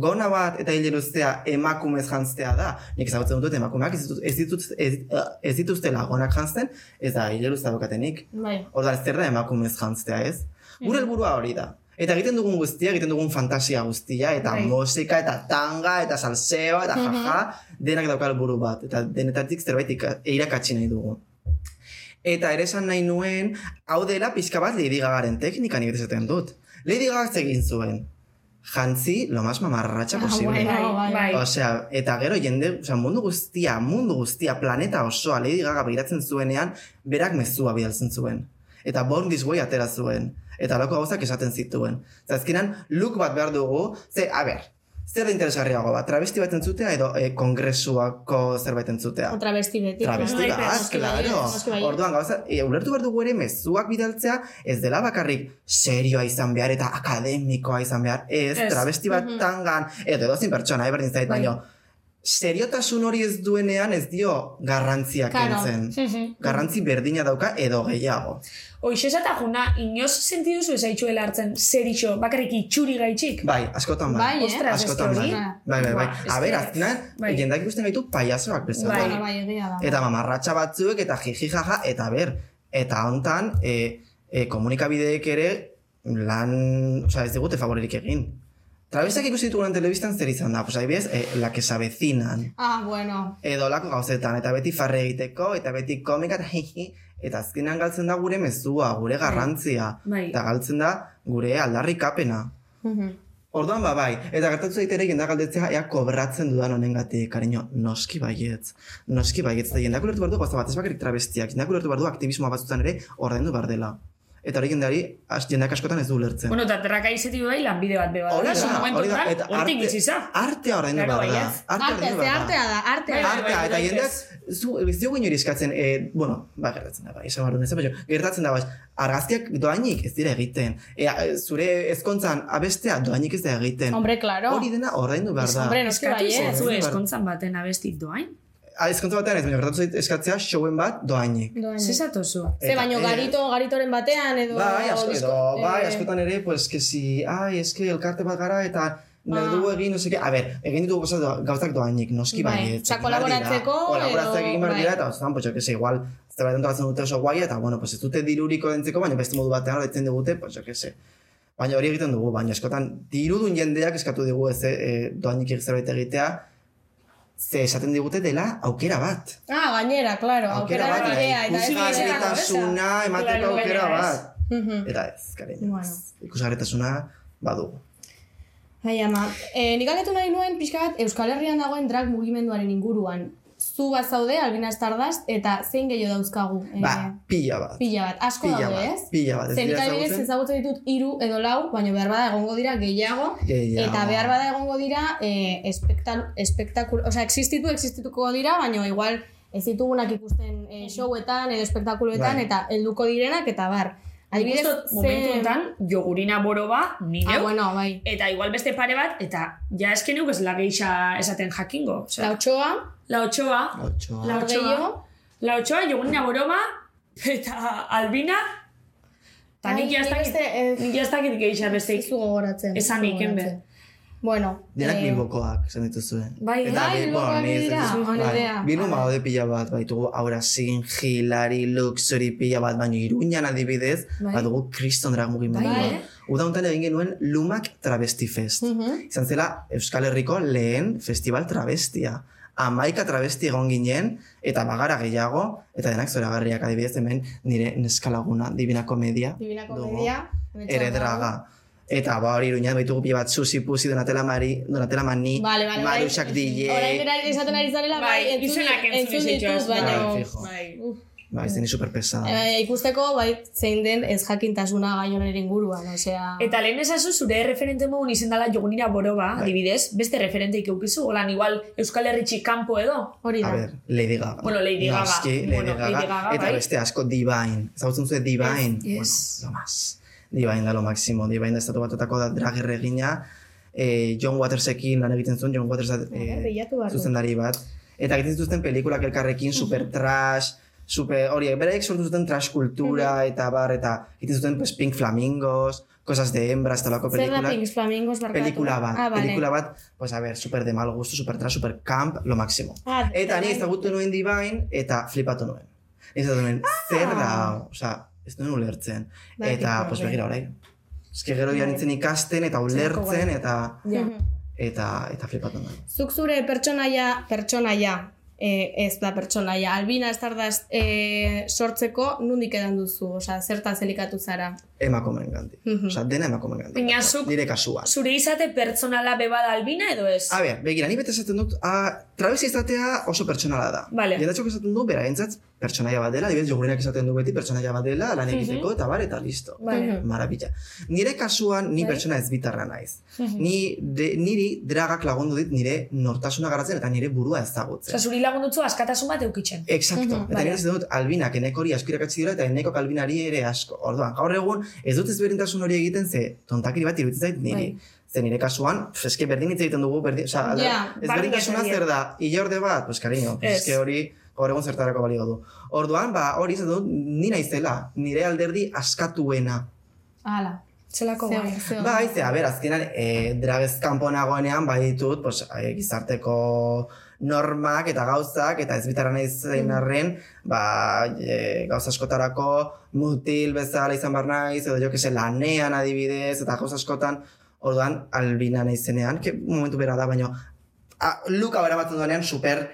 H: Gona bat eta hile luzea emakumez jantzea da. Nik ezagutzen dut emakumeak ez, ditut, ez, ditut, ez, eh, ez dituztela gonak jantzen, ez da hile luzea dukatenik.
F: Bai.
H: Ordan zer da emakumez jantzea, ez?
F: Mm.
H: Gure helburua hori da. Eta egiten dugun guztia, egiten dugun fantasia guztia, eta
G: Bai.
H: musika, eta tanga, eta salseo, eta
F: Mhm.
H: jaja, denak dauka helburu bat, eta denetatik zerbait ika- irakatsi nahi dugu. Eta ere esan nahi nuen, hau dela pixka bat Lady Gagaren teknikan nik esaten dut. Lady Gagak egin zuen, jantzi lo más mamarratxa
F: Ah,
H: posible.
F: bueno. Bai, bai.
H: Osea, eta gero jende, osea, mundu guztia, mundu guztia, planeta osoa Lady Gaga begiratzen zuenean, berak mezua bidaltzen zuen. Eta Born This Way atera zuen. Eta lako gauzak esaten zituen. Zazkinan, look bat behar dugu, ze, a ber, zer da interesgarriago bat, travesti bat entzutea edo e, kongresuako zerbait entzutea?
F: Otra besti beti.
H: Travesti
G: Bai,
H: bat,
F: noski baietz,
H: klaro.
F: noski baietz.
H: Orduan gauza, e, ulertu behar dugu ere mezuak bidaltzea, ez dela bakarrik serioa izan behar eta akademikoa izan behar. Ez,
G: Ez.
H: travesti bat tangan, edo edozin pertsona, eh, berdin zait, baino, seriotasun hori ez duenean ez dio garrantziak
F: Claro.
H: kentzen. Garrantzi berdina dauka edo gehiago.
G: Hoxe esata juna, inoz sentidu zu ezaitxuela hartzen zer iso, bakarrik itxuri gaitxik.
H: Bai, askotan bai.
F: Bai, eh?
G: Ostras,
H: askotan
G: ez
H: bai.
G: hori.
H: Bai, bai, bai.
G: Ba, ez
H: A ber,
G: que-
H: azkenan,
G: bai.
H: jendak ikusten gaitu payasoak bezala.
G: Bai.
F: Bueno, bai, egia da.
H: Eta mamarratxa batzuek, eta jiji jaja, eta ber, eta hontan, e, e, komunikabideek ere, lan, oza, ez digute favorerik egin. Trabesak ikusi ditugunan telebistan zer izan da, pues, adibidez, e, la que se avecinan,
F: Ah, bueno.
H: edo lako gauzetan, eta beti farre egiteko, eta beti komika, eta jiji, eta azkenan galtzen da gure mezua, gure garrantzia,
G: Bai.
H: eta galtzen da gure aldarrikapena. Orduan ba bai, eta gertatu zait ere jendea galdetzea ea kobratzen dudan honengatik, kariño, noski baietz. Noski baietz da jendeak ulertu behar du gauza bat, ez bakarrik travestiak, jendeak ulertu behar du aktivismoa batzutan ere ordaindu behar dela. eta hori jendeari, as, jendeak askotan ez du ulertzen.
G: Bueno, eta traka izetik bai lanbide bat beba.
H: Hori
G: da, zu momentu
H: hori da,
G: tal,
H: eta
G: hortik
H: arte-
G: biziza.
H: Artea ordaindu
G: Claro,
H: behar da.
G: baietz.
F: Arte,
H: ordaindu
F: ze
H: behar da.
F: artea da, artea.
G: Bai, bai,
H: Artea, eta
G: bai,
H: jendeak, zu, ez diogu inori eskatzen, e, bueno, ba, gertatzen da, bai, esan behar duen ez, baina, gertatzen da, bai, argazkiak doainik ez dira egiten, e, a- e, zure ezkontzan abestea doainik ez da egiten.
F: Hombre, claro.
H: Hori dena ordaindu behar da.
F: Hombre, noski
G: Eskatu
F: baietz.
G: izezu
H: Bai, bai.
G: eskontzan baten abestik doain.
H: Ah, Ezkontza batean ez, baina gertatu zait eskatzea showen bat doainik.
F: Doan.
G: Ze zatozu?
F: Ze
H: Eta,
F: baino
H: eh,
F: garito, garitoren batean edo...
H: Bai, asko,
F: disko-
H: edo, bai,
F: eh,
H: askotan ere, pues, que si, ai, eske elkarte bat gara, eta nahi
F: Ah.
H: dugu egin, no sé qué. A ber, egin ditugu gauza do- gauzak doainik, noski
F: Bai,
H: bai, ez.
F: osea, kolaboratzeko
H: Kolaboratzeak
F: edo-
H: egin behar dira,
F: bai.
H: eta oztan, pues, jo, que se, igual, ez bat entokatzen dute oso guai, eta, bueno, pues, ez dute diruriko dentzeko, baina beste modu batean horretzen digute, pues, jo, que se. Baina hori egiten dugu, baina askotan, dirudun jendeak eskatu digu ez, eh, doainik zerbait egitea, ze esaten digute dela aukera bat.
F: Ah, gainera, claro. Aukera bat,
H: bai,
F: bidea, eta ez bidea.
H: ikusgarritasuna emateko
G: Claro,
H: aukera
G: baina ez.
H: bat.
F: Mhm.
H: Eta ez, kariño.
F: Bueno.
H: ez. Ikusgarritasuna badugu.
F: Bai, ama. E, nik galdetu nahi nuen pixka bat Euskal Herrian dagoen drag mugimenduaren inguruan. Zu bat zaude, Albina Stardust, eta zein gehiago dauzkagu? E,
H: Ba, pila bat.
F: Pila bat, asko
H: pila
F: daude,
H: bat,
F: ez?
H: pila bat, ez
F: Zer
H: dira
F: ikabidez
H: ezagutzen?
F: ezagutzen ditut hiru edo lau, baina behar bada egongo dira gehiago,
H: Gehiago.
F: eta behar bada egongo dira e, espektal, espektakul, oza, existitu, existituko dira, baina igual ez ditugunak ikusten e,
G: Bai.
F: showetan edo espektakuluetan,
H: Bai.
F: eta helduko direnak, eta bar.
G: Adibidez,
F: ze-
G: momentu honetan, jogurina boroba, ni
F: Ah,
G: neuk,
F: bueno, bai.
G: eta igual beste pare bat, eta ja eske neuk ez la geisha esaten jakingo. Osea,
F: Lautxoa,
G: la otxoa,
H: Otxoa.
G: la otxoa,
F: Ordeio,
G: la otxoa, jogurina boroba, eta albina, eta
F: Ai,
G: nik ja ez
F: nik
G: dakit,
F: beste, eh,
G: nik ja ez dakit geisha beste
F: ez du gogoratzen. ez
G: Esan
F: du
G: iken be.
F: gogoratzen. Bueno,
H: Denak
F: eh,
H: bilbokoak, esan dituzue.
G: Bai,
H: Eta
F: bai, bilbokoak
H: Bilbon, ez,
F: dira,
H: ez duzu-
F: ona
H: bai.
F: idea.
H: Bilbon badaude pila bat, baitugu Aura Sin, Hilari, Luxury pila bat, baina Iruñan adibidez,
G: Bai.
H: badugu Kriston Drag mugimendua.
G: Bai, eh?
H: Uda honetan egin genuen Lumak Travesti Fest.
F: Mhm.
H: Izan zela Euskal Herriko lehen festival travestia. Amaika travesti egon ginen, eta bagara gehiago, eta denak zoragarriak adibidez hemen nire neskalaguna, Divina Komedia.
F: Divina
H: dugu.
F: Komedia, hemen
H: ere
F: txarra.
H: draga. Eta ba hori iruñan baitugu pila bat Susi Pusi, Donatella Mari, Donatella Mani,
F: Vale, vale, bai.
H: Marusak DJ.
F: Orain era esaten ari zarela, bai,
G: Bai,
F: entzun,
G: izenak entzun
F: entzun
G: izitxoaz,
F: ditut,
G: bai.
F: baina...
H: Bai, fijo.
G: Bai.
H: Ba, ez deni superpesada.
F: Eh, ikusteko, bai, zein den ez jakintasuna gai honen inguruan, osea...
G: Eta lehen esazu zure referente modun izen dela jogunira boroba, adibidez, beste referenteik eukizu, holan igual Euskal Herritxik kanpo edo.
F: Hori
H: A
F: da.
H: ber, Lady Gaga.
G: Bueno, Lady Gaga.
H: Noski, Lady,
G: Bueno,
H: Gaga.
G: Lady Gaga,
H: Eta
G: bai.
H: beste asko Divine. Ezagutzen zuen Divine.
G: Yes, yes.
H: Bueno, lo más. Divine da lo máximo. Divine da estatu batetako da drag erregina. Eh, John Watersekin lan egiten zuen, John Waters da,
F: Ah,
H: eh,
F: bilatu behar du.
H: zuzendari bat. Eta egiten zituzten pelikulak elkarrekin, super trash, super horiek. Beraiek sortu zuten trash kultura, eta bar, eta egiten zuten pues, Pink Flamingos, cosas de hembras, talako
F: Zer da
H: pelikulak.
F: Pink Flamingos barkatu?
H: Pelikula bat,
F: Ah, vale.
H: pelikula bat, pues a ver, super de mal gusto, super trash, super camp, lo máximo.
F: Ah,
H: Eta ni
F: bai.
H: ezagutu nuen Divine, eta flipatu nuen. Ez dut nuen,
F: Ah!
H: zer da, hau? osea, ez nuen ulertzen.
F: Bai,
H: eta,
F: bai,
H: pues,
F: bai.
H: begira orain. Ez que gero joan nintzen ikasten, eta
F: bai.
H: ulertzen, eta,
G: Ja.
H: eta, eta flipatu nuen.
F: Zuk zure pertsonaia, pertsonaia, eh, ez da pertsonaia, albina estardaz eh, sortzeko nundik edan duzu, osea, zertan zelikatu zara.
H: Emakumeen gandik.
F: Mhm.
H: Osea, dena emakumeen gandik.
G: Mm-hmm. Baina zuk-
H: Nire kasuan.
G: Zure izate pertsonala bebada albina edo ez?
H: A ber, begira, ni bete esaten dut, a, trabesi izatea oso pertsonala da.
G: Vale.
H: Jendatxok esaten du, beraentzat, pertsonaia bat dela, adibidez, jogurinak esaten du beti, pertsonaia bat dela, lan egiteko, eta bar, eta listo.
G: Mm-hmm.
F: Bai.
G: Vale.
H: Maravilla. Nire kasuan, ni pertsona ez bitarra naiz.
G: Mm-hmm.
H: Ni, de, niri dragak lagundu dit nire nortasuna garatzen eta nire burua ezagutzen.
G: Osa, zuri lagundutzu askatasun bat eukitzen.
H: Exacto. eta
G: Vale.
H: nire ez dut, albinak enekori asko irakatsi dira eta enekok albinari ere asko. Orduan, gaur egun, ez dut ezberdintasun hori egiten ze tontakiri bat iruditzen zait niri. Ze nire kasuan, pf, eske berdin hitz egiten dugu, berdin, oza,
F: Ja,
H: ezberdintasuna
G: barnekakeria.
H: zer da, hilorde bat, pues cariño, pues,
G: Ez.
H: eske hori gaur egun zertarako balio du. Orduan, ba, hori ez dut, ni naizela, nire alderdi askatuena.
F: Hala.
G: Zelako
F: Zeo,
G: bai.
F: zeo.
H: Bai, ze, a ber, azkenan, e, dragez kanpo nagoenean, bai ditut, pues, e, gizarteko normak eta gauzak, eta ez bitara nahi
G: Mm.
H: zein arren, ba, e, gauza askotarako mutil bezala izan behar naiz, edo jo, que se, lanean adibidez, eta gauza askotan, orduan, albina nahi zenean, que momentu bera da, baina, a, luka bera batzen duenean, super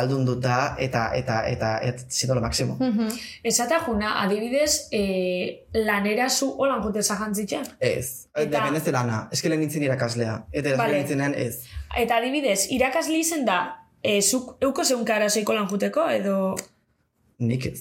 H: aldunduta, eta, eta, eta, eta, eta, lo maximo.
G: Mm.
F: Mhm.
G: Esata juna, adibidez, e, lanera zu holan jote zahantzitxan.
H: Ez,
G: Eta-
H: depende ze lana, eske lehen nintzen irakaslea, eta
G: Vale.
H: vale. nintzenean ez.
G: Eta eh, adibidez, irakasli izen da, e, zuk euko zeunka arazoiko lan juteko, edo...
H: nik ez.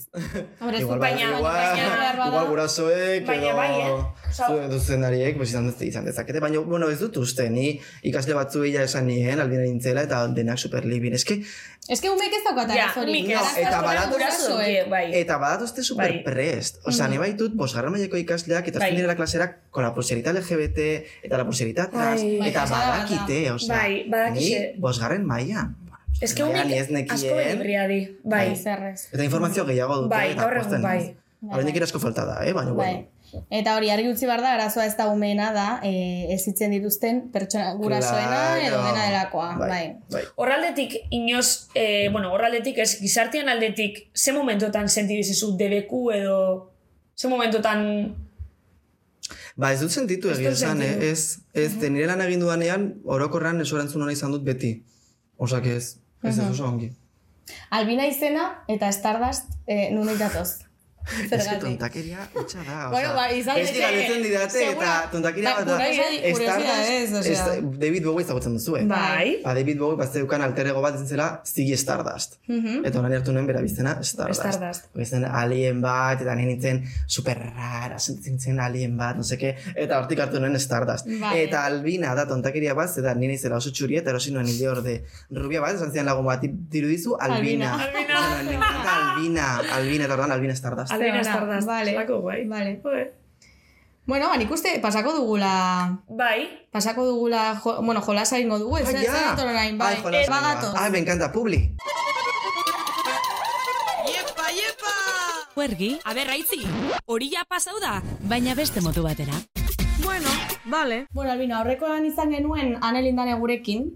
F: Hombre,
H: Igual,
F: bai,
G: baina-
H: igual,
F: baina-
H: igual gurasoek
G: Baina
H: edo
G: bai, eh? Osa-
H: zuen zuzendariek pues, izan, dez- izan dezakete. Baina, bueno, ez dut uste, ni ikasle batzu illa esan nien, albina nintzela, eta denak superlibin. Eske,
G: Bai.
F: Ez que umek ez daukat
G: Ja,
F: arazorik.
G: nik ez.
H: No, eta
G: Gurasoek,
H: balatu-
G: gurasoek, bai.
H: eta badatuzte superprest. Osa, ne baitut, bosgarren maileko ikasleak, eta
G: Mm. Bai.
H: azken direla klaserak, con la pulserita LGBT, eta la pulserita trans,
G: Bai,
H: eta
F: pasada da.
H: badakite, osea,
G: Bai, badakite.
H: ni bosgarren mailan.
G: Ez que
H: Mailan
G: unek
H: ez nekien.
G: asko libria di. Bai,
F: Bai, zerrez.
H: Eta informazio gehiago dute,
G: Bai,
H: eta
G: gaur egun,
H: pozten naiz.
G: bai.
H: Oraindik irasko falta da, eh? baina,
F: Bai.
H: bueno.
F: Eta hori argi utzi behar da, arazoa ez da umeena da, e, ezitzen dituzten pertsona gurasoena edo
H: Claro.
F: dena delakoa. Bai.
H: bai.
G: Horraldetik, inoz, eh, bueno, horraldetik, ez, gizartian aldetik, ze momentotan sentidu izizu debeku edo, ze momentotan,
H: Ba, ez dut sentitu
G: Ez
H: egia
G: dut
H: esan, eh?
G: sentitu.
H: ez, ez, te nire lan egin dudanean, orokorran eso erantzun hona izan dut beti. Osak ez, ez ez oso ongi.
F: Albina izena eta Stardust e, nunit datoz.
H: Ez que
F: Zergatik.
H: tontakeria hutsa da, oza.
F: Bueno, ba, izan
H: ez
F: daiteke.
H: digaletzen didate
F: Segura-
H: eta tontakeria
F: Ba,
H: bat da.
F: kuriosidade-
H: Ez
F: kuriosidadez,
H: Stardust,
F: osea.
H: ez- David Bowie ezagutzen duzu, eh?
G: bai,
H: Ba, David Bowie bat zeukan alter ego bat zintzela Ziggy Stardust. Eta horan hartu nuen bera biztena Stardust.
G: Stardust.
H: Bizten alien bat, eta nien nintzen super rara, sentitzen nintzen alien bat, no seke, eta hortik hartu nuen Stardust.
F: Vale.
H: Eta albina da tontakeria bat, eta nien izela oso txuria, eta erosi nuen hile orde rubia bat, esan zidan lagun bat, dirudizu albina. Albina.
G: Albina.
H: Albina. Albina. Albina, eta orduan Albina Stardust.
G: albena
F: ona,
G: estardaz,
F: vale.
G: zelako, bai.
F: Vale.
G: Joe.
F: Bueno, ba, nik uste pasako dugula...
G: Bai,
F: Pasako dugula, jo, bueno, jolasa ingo dugu, ez
H: Ah,
F: ez
H: ya.
F: ez orain, bai.
H: Ay, jolas,
F: Ba,
H: venga.
F: gatoz.
H: Ay, me encanta, Publi.
E: Huergi,
B: Aber, raitzi, hori ja pasau da.
E: baina beste modu batera.
B: Bueno, vale.
F: Bueno, Albina, horrekoan izan genuen anelindane gurekin,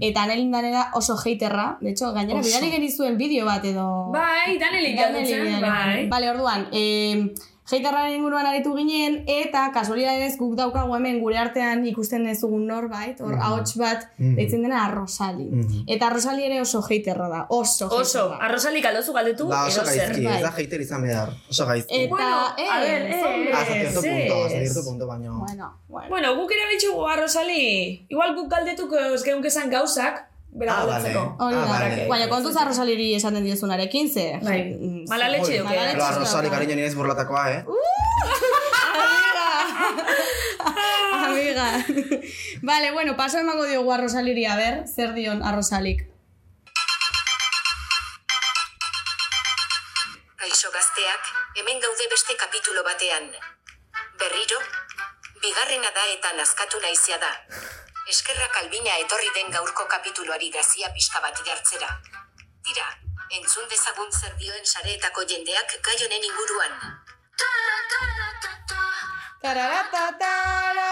F: eta anelindane da oso haterra, de hecho, gainera, bidali genizuen bideo bat edo...
G: bai, danelik jadutzen, bai.
F: Vale, orduan, eh, haterraren inguruan aritu ginen, eta kasualidadez guk daukagu hemen gure artean ikusten ez dugun norbait, hor ahots bat, deitzen dena Arrosali. Eta Arrosali ere oso haterra da, oso
G: Oso,
F: haterra.
G: arrozalik aldozu galdetu,
H: Ba, oso
G: edo zer.
H: gaizki, ez
F: bai.
H: da hater izan behar. Oso gaizki.
F: Eta,
G: Bueno,
F: eh,
G: a ver, eh,
F: hombre,
H: Hasta cierto punto, hasta
G: ez.
H: cierto punto, baino.
F: Bueno, bueno.
G: Bueno, guk ere bitxugu, arrozali, igual guk galdetuko ez geunkesan gauzak, bera
H: Ah, vale.
G: galdetzeko.
F: Hori
H: Ah,
F: da,
H: vale.
F: baina kontuz arrosaliri esaten diozunarekin, ze...
G: Bai.
F: Mm,
G: Mala leche
F: Mala
G: duke.
F: leche.
H: Lo arrozari cariño nire ez burlatakoa, eh?
F: Uh.
G: (laughs)
F: Amiga. vale, bueno, paso emango diogu arrosaliri, a ber, zer dion arrosalik.
I: Kaixo gazteak, hemen gaude beste kapitulo batean. Berriro, bigarrena da eta nazkatu naizia da. Eskerrak albina etorri den gaurko kapituloari grazia pixka bat jartzera. Tira, entzun dezagun zer dioen sareetako jendeak gai honen inguruan.
F: Tararatatara.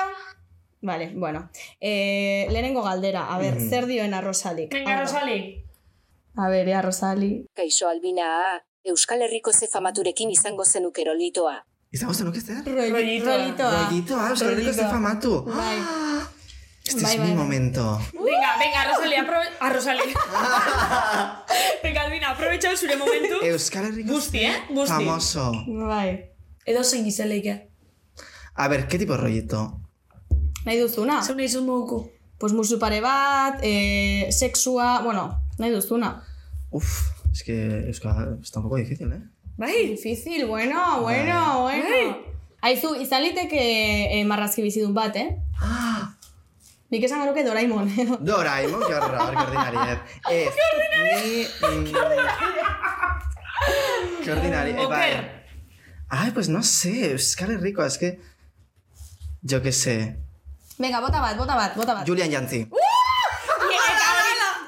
F: Vale, bueno. Eh, lehenengo galdera, a ber, zer dioen arrosalik.
G: Venga, arrozalik.
F: A ber, ea, arrosali.
I: Kaixo albina, Euskal Herriko ze famaturekin izango zenuk erolitoa.
H: Izango zenuk ez da?
G: Rollitoa.
F: Rollitoa.
H: Rollitoa, ah, Euskal Herriko
F: Rollitoa.
H: zen famatu.
F: Bai.
H: Este
F: Bai,
H: es
F: bai,
H: mi
F: bai.
H: momento.
G: Venga, venga, arrozali, apro...
H: (laughs)
G: arrozali. venga, albina, aprobetxau zure momentu.
H: Euskal Herriko
G: Guzti, eh? Guzti.
H: famoso.
F: Bai.
G: Edo zein gizeleike.
H: A ver, ¿qué tipo de rollito?
F: Nahi duzuna?
G: Zeu nahi zuen moguko.
F: Pues musu pare bat, eh, sexua, bueno, nahi duzuna.
H: Uf, es que Euskal está un poco difícil, eh?
G: Bai,
F: Difícil, bueno, bueno, bueno. Aizu, izan liteke eh, marrazki bizidun bat, eh? Nik esan garoke Doraemon,
H: (laughs)
F: edo.
H: Doraemon, qué horror, qué ordinariedad. Este, Es. Ni... mm, Qué ordinariedad.
G: Oker.
H: Ay, pues no sé, Euskal Herriko, es que... Yo qué sé.
F: Venga, bota bat, bota bat, bota bat.
H: Julian Jantzi.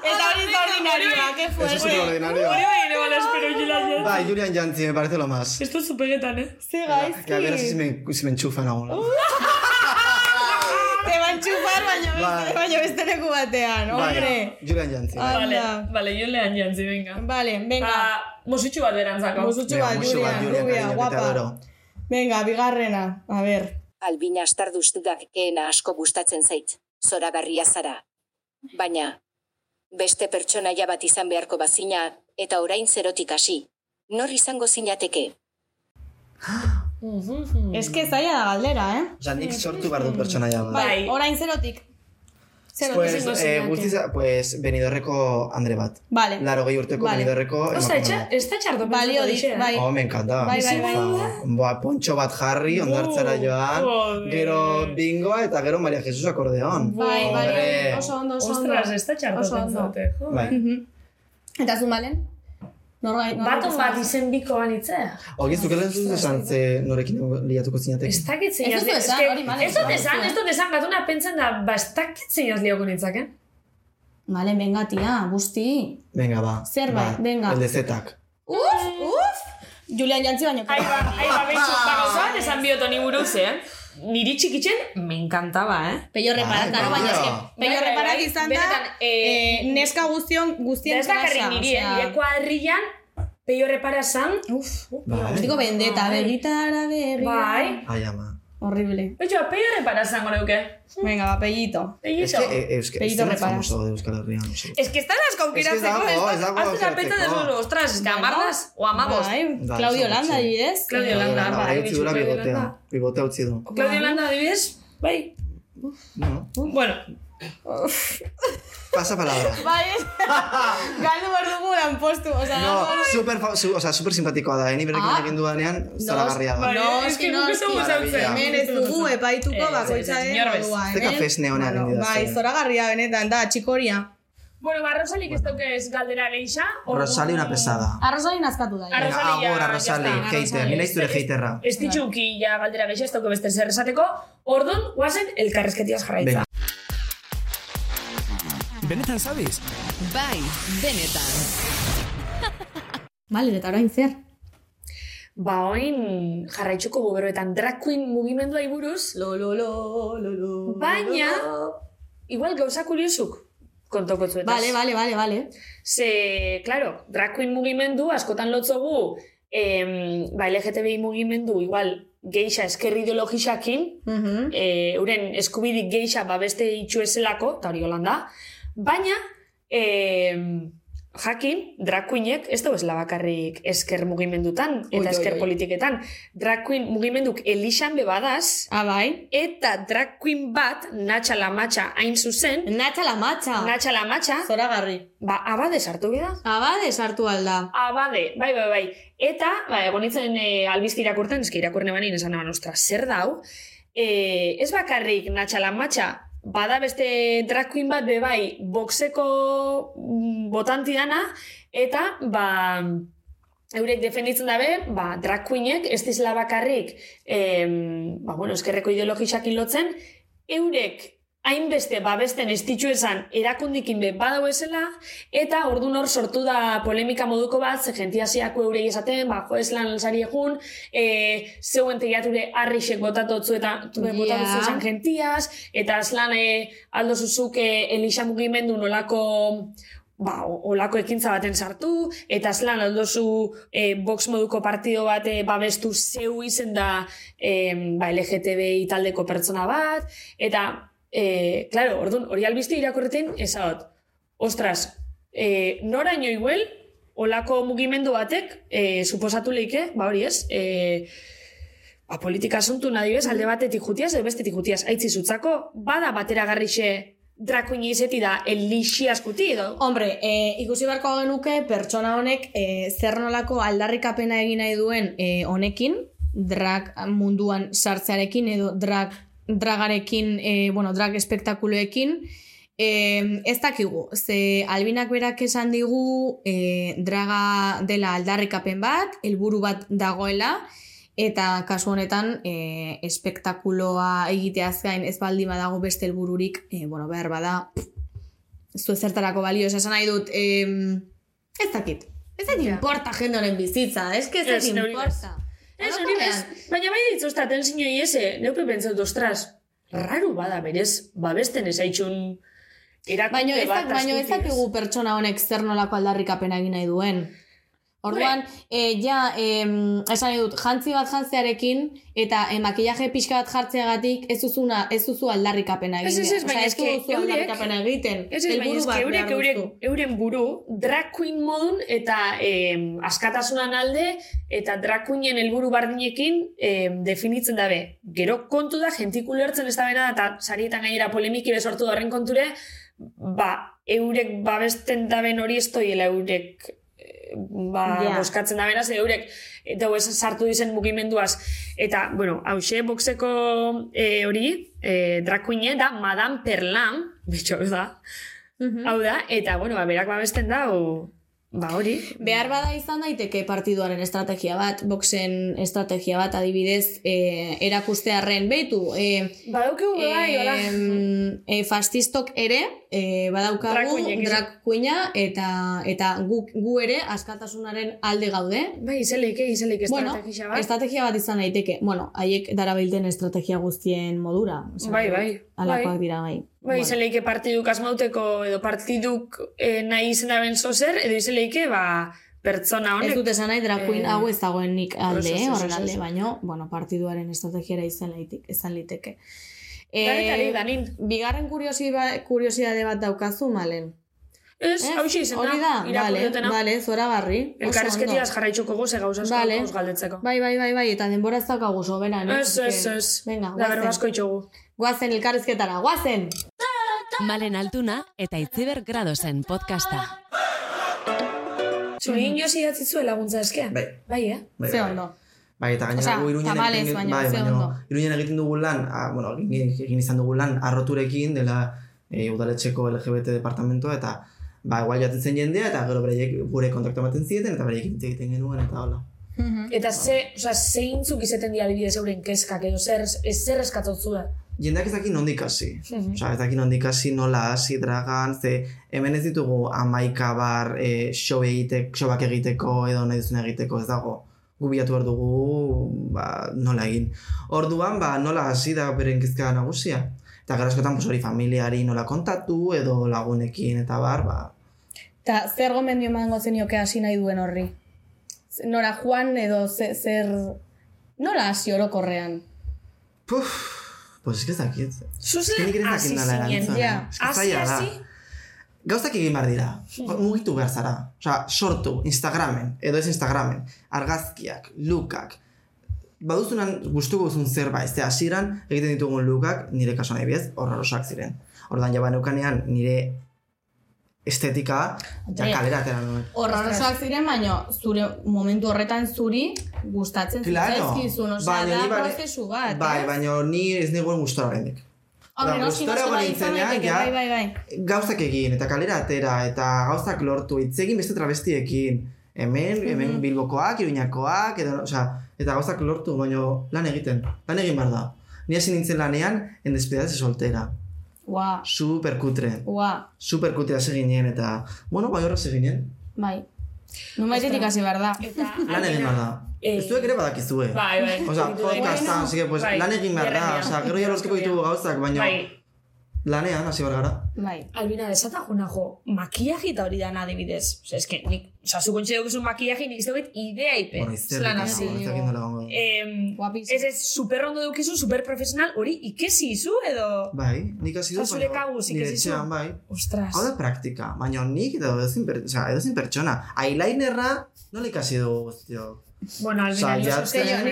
F: Eta hori da ordinarioa, que
H: Eso es ordinario.
G: hori bai ere bala espero gila jen.
H: Bai, Julian Jantzi, me parece lo más.
G: Esto zu pegetan, eh?
F: Ze
H: Que a ver si
F: gaizki.
H: me, si me enchufan aún.
F: Te va a enchufar, baina
H: Bai.
F: beste, baina beste leku batean, hombre.
H: Julian Jantzi.
F: Ah,
G: Vale,
F: Hala.
G: vale, jo lehan jantzi, venga.
F: Vale, venga.
G: Ba, mosutxu bat berantzako.
F: Musutxu
H: Venga,
F: bat,
H: musu bat,
F: Julian,
H: Julian,
F: rubia,
H: cariño, que te adoro.
F: guapa. Venga, bigarrena, a ver.
I: Albina astarduztudak keena asko gustatzen zait, zoragarria zara. Baina, beste pertsonaia bat izan beharko bazina, eta orain zerotik hasi. Nor izango zinateke?
F: Es que zaila da galdera, eh?
G: Mm.
H: Osa, nik sortu behar dut pertsonaia bat.
G: Bai.
F: Orain zerotik. Zer
H: Pues,
G: ezingo
H: eh,
G: zinake.
H: guztiz, pues, benidorreko andre bat.
F: Vale.
H: Laro gehi urteko
F: Vale.
H: benidorreko
G: Osta,
H: emakume
G: etxa,
H: bat.
G: ez da txardo
F: Balio dit, bai.
H: Oh, me encanta.
F: Bai, bai, bai.
H: Ba, Boa, pontxo bat jarri, ondartzara
G: Uh,
H: joan,
G: joder.
H: gero bingoa eta gero Maria Jesus akordeon.
F: Bai, bai,
H: Hombre.
F: oso ondo, oso ondo.
G: Ostras, ez da txardo
F: Oso ondo.
G: pentsate. jo.
H: Bai.
F: Mhm. Eta zu malen? Norgai, norgai.
G: Baton bat izen biko banitze.
H: Hori ez dukela ez dut esan ze norekin liatuko zinate.
G: Ez dakit zein
F: Ez duzu
G: jazli-
F: esan,
G: eske-
F: hori, Malen,
G: Ez dut
F: ez
G: esan,
F: duzu.
G: ez dut esan, gatuna pentsan da, ba, ez dakit zein jazlioko nintzaken.
F: Malen, venga, tia, guzti.
H: Venga, ba.
F: Zerbait,
H: Ba,
F: venga.
H: Aldezetak.
F: Uf, uf! Julian Jantzi baino.
G: Ai, ba, ai, ba, beitzu, ba, gauzan, esan biot honi buruz, eh? Niri txikitzen, me encantaba, eh?
F: Peio reparat,
H: Ai,
F: karo,
H: baina.
F: baina eske. Peio
G: Bai, bai,
F: reparat
G: bai.
F: izan da,
G: Benetan, eh,
F: eh, neska guztion,
G: Da
F: guztien
G: ez bakarrik niri, eh? Nire kuadrillan, peio repara zan,
F: Uf,
H: Bai.
F: Betiko bendeta, begitara, begira.
G: bai.
H: Ai, ama.
F: Horrible.
G: Betxo, peio repara zango neuke.
F: Venga, ba, pellito.
H: Ez
G: Egito.
H: que, eh, euske, ez
F: Pellito
H: dena
F: repara.
H: famoso de Euskal Herrian. oso.
G: Ez que están las
H: Ez que ez
G: conqueratzeko,
H: dago,
G: ez
H: ez dago
G: da, aztera pentsa
H: aukeratzeko.
G: dezu, ostras, ez que amarras, o amabos.
F: Bai,
H: Bai,
F: Claudio
H: oso
F: Landa,
H: gutxi.
F: adibidez.
G: Claudio Landa,
H: Landa,
G: bai,
H: bai, utzi dura
G: Claudio
H: bigotea.
G: Landa.
H: Bigotea utzi du.
G: Claudio Landa, adibidez, bai.
H: No.
G: Bueno,
H: Pasa
G: (laughs)
H: palabra.
F: Bai, ez- (laughs) galdu behar dugu lan postu. Osa,
H: No, super, fa- su, o sea, super simpatikoa da, eni berrekin
F: Ah.
H: egin dudanean, zaragarria da.
G: bai, es que guk ezagun
H: Maravilla.
G: zautzen.
F: Hemen ez dugu
G: eh,
F: epaituko
G: Ez,
F: bakoitzaren
G: inor bez.
F: moduan,
H: Ze
F: eh?
H: kafesne ona egin didazue.
F: Bai, zoragarria benetan, da, txikoria.
G: Bueno, ba, Rosalik ez dauke ez galdera geisha.
H: Rosali una pesada.
F: Arrozoin azkatu da.
G: Arro- Ah, Rosali,
H: Venga,
G: ya,
H: Agora,
G: ya
H: Rosali,
G: está,
H: hater.
G: Rosali.
H: Ni naiz zure haterra.
G: Ez ditxuki ja galdera geisha, ez dauke beste zer esateko. Orduan, guazen, elkarrezketiaz
H: Venga.
G: jarraitza.
J: Benetan zabiz?
E: Bai, benetan.
F: Bale, eta orain zer?
G: Ba, oin jarraitzuko guberoetan drag queen mugimendua iburuz,
F: Lo, lo, lo, lo, lo.
G: baina, igual gauza kuriosuk kontoko zuetaz.
F: Bale, bale, bale, bale.
G: Ze, claro, drag queen mugimendu askotan lotzogu, em, ba, LGTBI mugimendu igual geisha eskerri ideologisakin,
F: Mhm.
G: e, euren eskubidik geisha ba beste itxu ezelako, eta hori holanda, baina em, jakin drag queenek ez da bezala bakarrik esker mugimendutan eta
F: Oi, oi,
G: esker
F: oi.
G: politiketan. Drag queen mugimenduk elixan bebadaz,
F: Ah, bai.
G: eta drag queen bat, natxa lamatxa hain zuzen,
F: Natxa la matxa.
G: natxa lamatxa,
F: Zoragarri.
G: ba, abadez hartu beda.
F: Abade sartu alda.
G: Abade, bai, bai, bai. Eta, ba, egon nintzen e, albizti irakurten, eski irakurne banin esan naban, ostra, zer dau? E, ez bakarrik natxalan matxa, bada beste drag queen bat be bai boxeko mm, botanti dana, eta, ba, eurek defenditzen dabe, ba, drag queenek ez dizela bakarrik, em, ba, bueno, eskerreko ideologisak lotzen, eurek hainbeste babesten ez ditxu esan erakundikin be badau esela, eta ordun hor sortu da polemika moduko bat, ze jentiasiako eurei esaten, ba, jo, ez lan sari egun, e, zeuen teiature harrixek botatotzu eta yeah. botatu
F: Ja.
G: zuen jentiaz, eta azlan e, aldo zuzuk e, elisa mugimendu nolako ba, o- olako ekintza baten sartu, eta azlan aldozu e, box moduko partido bat e, babestu zeu izen da e, ba, LGTBI taldeko pertsona bat, eta, e, claro, orduan, hori albizte irakorreten ezaot, ostras, e, noraino iguel, olako mugimendu batek, e, suposatu leike, ba hori ez, e, ba, politika asuntu nahi bez, alde batetik jutiaz, edo bestetik jutiaz, aitzi zutzako, bada bateragarrixe drakuin izeti da elixi askuti, edo,
F: Hombre, e, ikusi beharko genuke pertsona honek e, zer nolako aldarrikapena egin nahi duen e, honekin, drag munduan sartzearekin edo drag, dragarekin, e, bueno, drag espektakuloekin, e, ez dakigu, ze albinak berak esan digu e, draga dela aldarrikapen bat, helburu bat dagoela, Eta kasu honetan, e, espektakuloa egiteaz gain ez baldin badago beste helbururik, e, bueno, behar bada, zu ezertarako balio, ez esan nahi dut, em, ez dakit. Ez dakit importa jende honen bizitza, ez que ez
G: Ez,
F: dakit
G: neuri
F: importa.
G: Ez, hori
F: Orokorrean,
G: bez, baina bai ditzozta tensiño iese, neupe eh, pentsatu, ostras, raru bada berez, babesten ez haitxun erakunde
F: Baino ez,
G: bat
F: dak, baino ez
G: askutiz.
F: dakigu pertsona honek zer nolako aldarrikapena egin nahi duen. Orduan, e, ja, em, esan nahi dut, jantzi bat jantzearekin eta e, makillaje pixka bat jartzeagatik ez duzuna, ez duzu aldarrikapena egin.
G: Ez, ez,
F: behar. Osea,
G: ez, baina eske
F: Ez duzu
G: eurek-
F: aldarrikapena egiten.
G: Ez ez, baina
F: Helburu
G: ez
F: bat
G: que eurek,
F: behar
G: eurek,
F: duzu.
G: euren buru drag queen modun eta em, askatasunan alde eta drag queenen helburu bardinekin em, definitzen dabe. Gero kontu da, jentik ulertzen ez da bena eta sarietan gainera polemiki sortu da horren konture, ba, eurek babesten daben hori ez doiela eurek eh, ba,
F: Ja.
G: boskatzen da beraz, eurek eta ez sartu dizen mugimenduaz. Eta, bueno, hause, boxeko eh, hori, e, drag queene da Madame Perlam, bitxo da,
F: Mhm.
G: Mm. Hau da, eta, bueno, ba, berak babesten da, o, ba, hori.
F: Behar bada izan daiteke partiduaren estrategia bat, boxen estrategia bat adibidez e, erakustearren beitu. E,
G: Badaukigu,
F: Eh,
G: bai, hola.
F: em, e, fastistok ere e, badaukagu
G: Drakuinek, ez?
F: drakuina eta eta gu, gu ere askatasunaren alde gaude.
G: Bai, izelik, eh, izelik, ez
F: Bueno,
G: estrategia bat.
F: estrategia bat izan daiteke. Bueno, haiek darabilten estrategia guztien modura. Osea,
G: Bai, bai,
F: Alakoak
G: bai.
F: dira, bai.
G: Bai,
F: Bueno.
G: izeleike partiduk asmauteko, edo partiduk eh, nahi izena ben zozer, edo izeleike, ba, pertsona
F: Ez
G: honek.
F: dut esan nahi drag queen
G: Eh,
F: hau ez dagoen nik alde,
G: ez, ez,
F: eh,
G: ez,
F: horren
G: ez,
F: alde,
G: ez.
F: baino, bueno, partiduaren estrategiara izan laitik, izan liteke. Eh,
G: Danetari, danin.
F: bigarren kuriosidade, kuriosidade bat daukazu, malen.
G: Ez,
F: Ez?
G: hau izan
F: Hori da, vale,
G: irakurretena.
F: vale, zora barri.
G: Elkarrezketiaz jarraitzuko goze gauza asko
F: Vale.
G: gauz galdetzeko.
F: Bai, bai, bai, bai, eta denbora ez daukagu soberan. eh,
G: Ez, ez,
F: azken.
G: ez.
F: Venga,
G: da berro asko
F: guazen,
G: itxogu.
F: guazen elkarrezketara, guazen!
E: Malen Altuna eta Itziber Gradosen podcasta.
F: Mm.
G: Zuri inoz idatzi zuen laguntza eskea?
H: Bai,
G: Bai, eh?
H: bai,
F: Ze
H: bai.
F: ondo.
H: Bai, eta gainera
F: Osea,
H: gu iruñen
F: tamalez,
H: egiten,
F: baina
H: bai,
F: ze ondo.
H: baino, iruñen egiten dugu lan, ah, bueno, egin, egin izan dugu lan, arroturekin dela e, udaletxeko LGBT departamentoa, eta ba, igual jaten zen jendea, eta gero beraiek gure kontaktu ematen zieten, eta beraiek hitz egiten genuen, eta hola.
G: Eta ze, oza, zeintzuk izeten dira adibidez euren kezkak, edo zer, ez zer eskatotzu da.
H: Jendeak ez dakit nondik hasi. Osa, ez dakit nondik hasi, nola hasi, dragan, ze hemen ez ditugu amaika bar e, show egiteko, showak egiteko, edo nahi duzuna egiteko, ez dago. Gu bilatu behar dugu, ba, nola egin. Orduan, ba, nola hasi da beren kezka nagusia. Eta gara askotan, pues, hori familiari nola kontatu, edo lagunekin, eta bar, ba,
F: Eta zer gomendio emango zenioke hasi nahi duen horri? Z- Nora Juan edo ze- zer... Nora hasi orokorrean?
H: pues ez que ez dakit.
G: Zuze,
H: Nik ere ez
G: hasi
H: dakit nola
G: zinen.
H: erantzuna.
F: ja.
H: Ez eh? que
G: Hasi,
H: zaila da.
G: hasi,
H: Gauzak egin behar dira. Ba, Mugitu behar zara. Osa, sortu, Instagramen, edo ez Instagramen, argazkiak, lukak. Baduzunan gustuko duzun zerbait, ze hasieran egiten ditugun lukak nire kasuan ebiez horrorosak ziren. Ordan jaba neukanean nire estetika ja
F: Hombre.
H: kalera atera nuen.
F: Horrorosoak ziren, baino zure momentu horretan zuri gustatzen
H: Claro.
F: zitzaizkizun, osea,
H: Baina
F: da
H: ni bare-
F: prozesu bat,
H: Bai,
F: eh?
H: baina ni ez negoen gustora oraindik.
F: Hombre,
H: Ba,
F: noski,
H: gustora
F: noski, bai,
H: egon
F: izan
H: nintzenean,
F: daiteke,
H: ja.
F: bai, bai, bai.
H: gauzak egin, eta kalera atera, eta gauzak lortu, hitz egin beste trabestiekin, hemen,
G: Mhm.
H: hemen bilbokoak, iruñakoak, edo, osea, eta gauzak lortu, baino lan egiten, lan egin behar da. Ni hasi nintzen lanean, en despedida soltera.
F: Ua,
H: Super kutre.
F: ua,
H: Super kutre hasi ginen, eta, bueno, bai horra ginen.
F: bai. Numaitetik hasi behar da.
G: eta...
H: Lan egin behar da.
G: Eh,
H: Ez duek ere badakizue.
G: Bai, bai.
H: Osa, podcastan, así que, pues,
G: Bai,
H: lan egin behar da.
G: jarraia.
H: Osa, gero ja lortuko ditugu gauzak, baino,
G: Bai,
H: lanean hasi behar gara.
F: Bai.
G: Albina, desata jona jo, makillaje eta hori dana adibidez. Osa, eske, nik, osa, zukontxe dugu makillaje, nik ez dugu idea ipe.
H: Bueno, izterrik,
G: Zelan
H: ez
G: hasi. Eh,
H: dago, ez dakit nola egongo.
G: Em,
F: Guapísimo.
G: ez ez, super ondo dukizu, super profesional, hori ikesi izu edo...
H: Bai, nik hasi dut,
G: Osa, zure kabuz
H: nire
G: ikesi zu.
H: etxean, bai.
G: Ostras.
H: Hau da praktika, baina nik edo ezin, per, oza, ezin pertsona. Eyelinerra nola ikasi dugu guztiok.
G: Bueno, albina,
H: Saiatzen,
F: zeio- ni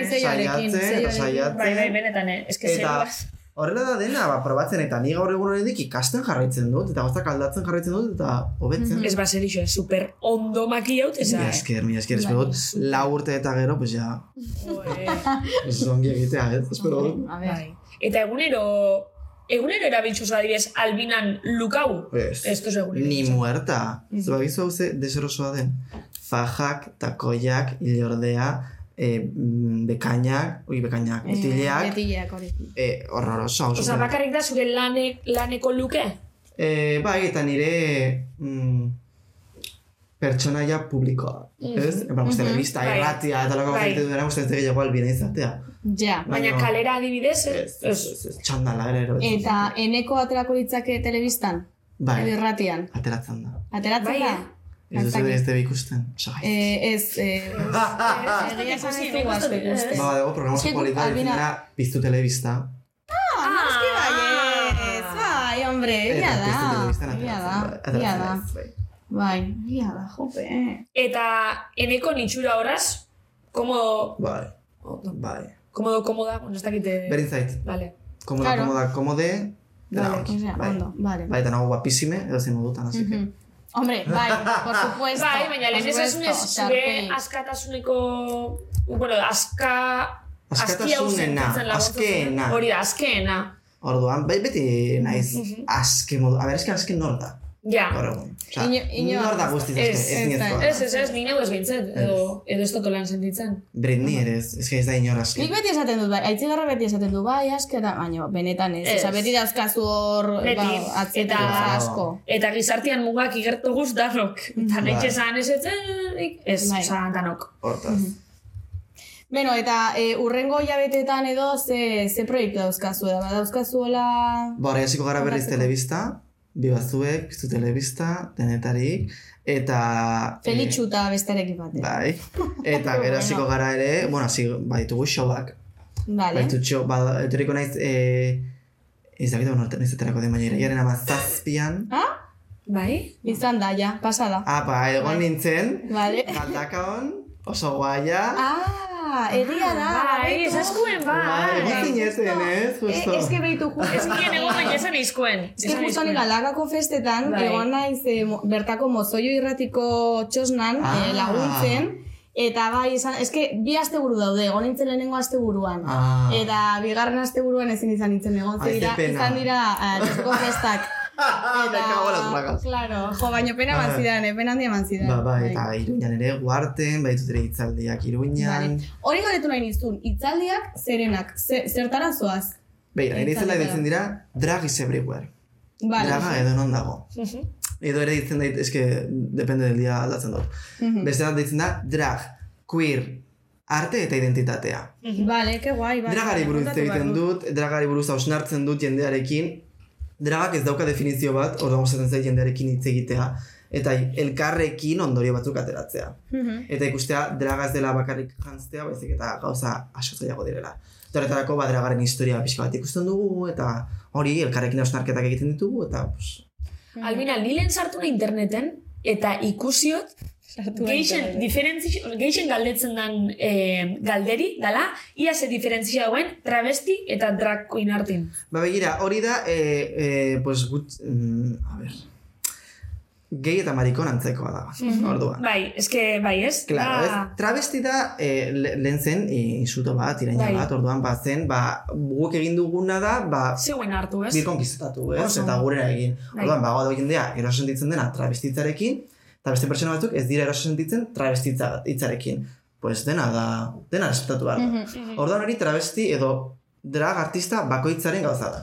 H: saiatzen,
F: zeioarekin,
H: eta
F: zeioarekin.
G: Bai, bai,
H: saiatzen.
G: benetan, eh? eske
H: Eta
G: zeruaz.
H: horrela da dena, ba, probatzen, eta ni gaur egun horretik ikasten jarraitzen dut, eta gozak aldatzen jarraitzen dut, eta hobetzen.
G: Ez ba, zer iso, eh, super ondo makillaut, ez da.
H: Mila
G: eh?
H: esker, mila esker, espero dut, lau urte eta gero, pues ja,
G: Joe.
H: ez ongi egitea, ez, espero dut.
F: A ber,
G: Bai. Eta egunero, egunero erabiltzu zu adibidez, albinan lukau.
H: Ez.
G: Ez duz egunero.
H: Ni muerta. Zubagizu hau ze deserosoa den. Fajak, takoiak, ilordea, eh, mm, bekainak, ui, bekainak,
F: Eh,
H: betileak,
F: betileak hori.
H: eh, horroroso. oso
G: Osa,
H: feo.
G: bakarrik da zure lanek, laneko luke?
H: Eh, bai, eta nire mm, pertsonaia publikoa, ez? Mm. Vamos, telebista,
G: Bai.
H: irratia, eta lako
G: Bai.
H: gente duena, uste ez gehiago albina izatea.
F: Ja.
G: Baina
H: Baina-
G: kalera adibidez,
H: Ez,
G: ez?
H: ez, ez, ez, txandala ere erobetzen.
F: Eta eh, eneko aterako litzake telebistan?
H: Bai.
F: Edo irratian?
H: Ateratzen da.
F: Ateratzen
G: Bai,
F: da?
G: eh?
H: Ez duzu
F: Altzaki.
H: ez debe ikusten. Osagai.
F: Eh, ez, eh, egia esan ez dugu asko ikusten.
H: Ba, dago programa
F: Eske
H: oso
F: gu-
H: polita
F: Albina-
H: deitzen dela Piztu Telebista.
F: Ah, noski
G: Ah.
F: baietz, bai, hombre, egia
H: Eta
F: da,
H: Piztu Telebistan
F: egia da,
H: ateratzen
F: egia da.
H: ateratzen bai.
F: Bai, egia da, jope. eh.
G: Eta eneko nitxura horaz, komodo,
H: Bai. Ondo, Bai.
G: komodo, komoda, bueno, ez dakite...
H: Berin zait.
G: Vale.
H: Komoda,
F: Claro.
H: komoda, komode. dena
G: Vale,
H: hori.
F: Osea,
H: Bai.
F: ondo, vale.
H: Bai, eta nago guapizime, edo zen modutan, así que.
F: Mhm. Hombre, bai, por supuesto.
G: Bai, baina lehen
F: por
G: esasunez
F: supuesto,
G: zure
F: Sharpay.
G: askatasuneko... Bueno, aska... askia hau
H: Askatasunena,
G: sentitzen laguntzen zuen.
H: askeena.
G: Hori da, askeena.
H: Orduan, bai beti naiz aske modu. A ber, eske aske nor da.
G: Ja.
H: Gaur egun. Osa,
F: Ino- inor
H: nor da
F: ez-
H: guztiz
G: ez,
H: aske, ez
F: ez
H: niezkoa.
F: da.
G: Ez, ez, ez, ni neu ez behintzen, edo, edo ez totolan sentitzen.
H: Britney ere ez, eske ez da inor aske.
F: Nik beti esaten dut, bai, aitzigarra beti esaten du, bai, askera, baina benetan ez.
G: Ez.
F: Osa, beti dazkazu hor,
G: Beti.
F: ba, atzeta
G: Eta-
F: asko.
G: Eta gizartian mugak igertu guz danok. Eta
H: Bai.
G: nahi esan ez etzenik, ez,
F: Bai.
G: oza, danok.
H: Hortaz.
F: Beno, eta e, urrengo hilabetetan edo ze, ze proiektu dauzkazu, da, dauzkazu hola...
H: Ba, orain hasiko gara berriz telebista, bibazuek, piztu telebista, denetarik, eta... eh,
F: Felitxu eta bestearekin eh. batera. (laughs)
H: Bai. Eta gero hasiko gara ere, bueno, bai, hasi baditugu showak.
F: Vale.
H: Baditu show, ba, etoriko naiz, e, ez dakit hon norten izaterako den baina iraiaren amazazpian.
F: Ah?
G: Bai?
F: Izan da, ja, pasada.
H: Ah, ba,
F: Bai.
H: egon
F: (laughs)
H: nintzen,
F: Vale.
H: galdaka hon, oso guaia.
F: Ah, egia da.
G: Bai, ez eskuen,
H: Egon
G: bai.
H: zineten, ez? Justo.
F: Ez Eh, que behitu justu.
G: Ez ginen Bai. egon baina esan izkuen.
F: Ez que justo ni galakako festetan,
G: Bai.
F: egon naiz eh, mo- bertako mozoio irratiko txosnan
H: Ah.
F: eh, laguntzen, eta bai, izan, ez que bi asteburu daude, egon nintzen lehenengo asteburuan.
H: Ah. (laughs)
F: Eta bigarren asteburuan ezin izan nintzen egon,
H: Ai, ze
F: ze dira,
H: pena. Ah,
F: izan dira ah, txosoko
H: (laughs)
F: festak.
H: Me cago en las placas.
F: claro, jo, baino pena eman
H: Ah.
F: zidan, eh, pena handia eman zidan. Bai.
H: Ba, ba, eta Iruñan ere, guarten, baitut ere hitzaldiak Iruñan.
F: Vale. Hori galdetu nahi nizun, itzaldiak zerenak, ze, zertara zoaz?
H: Beira, nire izela
F: Hitzaldietara.
H: ditzen dira, drag is everywhere.
F: Vale.
H: Draga edo non dago. Edo ere ditzen dait, eske, depende del dia aldatzen dut. Beste bat ditzen da, drag, queer, arte eta identitatea.
F: Vale, que guai, bai.
H: Dragari buruz hitz
F: Kontatu behar
H: egiten
F: dut.
H: dut, dragari buruz hausnartzen dut jendearekin, dragak ez dauka definizio bat, orduan gustatzen zait jendearekin hitz egitea, eta elkarrekin ondorio batzuk ateratzea.
F: Mhm.
H: Eta ikustea draga ez dela bakarrik jantztea, baizik eta gauza asotzaileago direla. Eta horretarako ba, dragaren historia pixka bat ikusten dugu, eta hori elkarrekin hausnarketak egiten ditugu, eta pues,
G: Albina, ni lehen sartu nahi interneten, eta ikusiot, geixen, diferentzi- geixen galdetzen den eh, galderi, dala, ia ze diferentzia dagoen travesti eta drag queen artin.
H: Ba, begira, hori da, e, e, pues, gut, mm, a ber, gehi eta marikon antzekoa da,
F: Mhm.
H: orduan.
G: Bai, eske, bai ez?
H: Claro, ez?
G: Da-
H: Travesti da, e, le- lehen zen, e, insulto bat, iraina
G: Bai.
H: bat, orduan, ba, zen, ba, guk egin duguna da, ba,
G: Zeuen hartu, ez?
H: birkonkistatu, ez?
G: Oso.
H: Eta gurera egin.
G: Bai.
H: Orduan, ba, gau jendea, eroso sentitzen dena travestitzarekin, eta beste pertsona batzuk ez dira eroso sentitzen travestitza hitzarekin. Pues dena da, dena respetatu behar da.
G: Mm-hmm.
H: Orduan hori travesti edo drag artista bakoitzaren gauza da.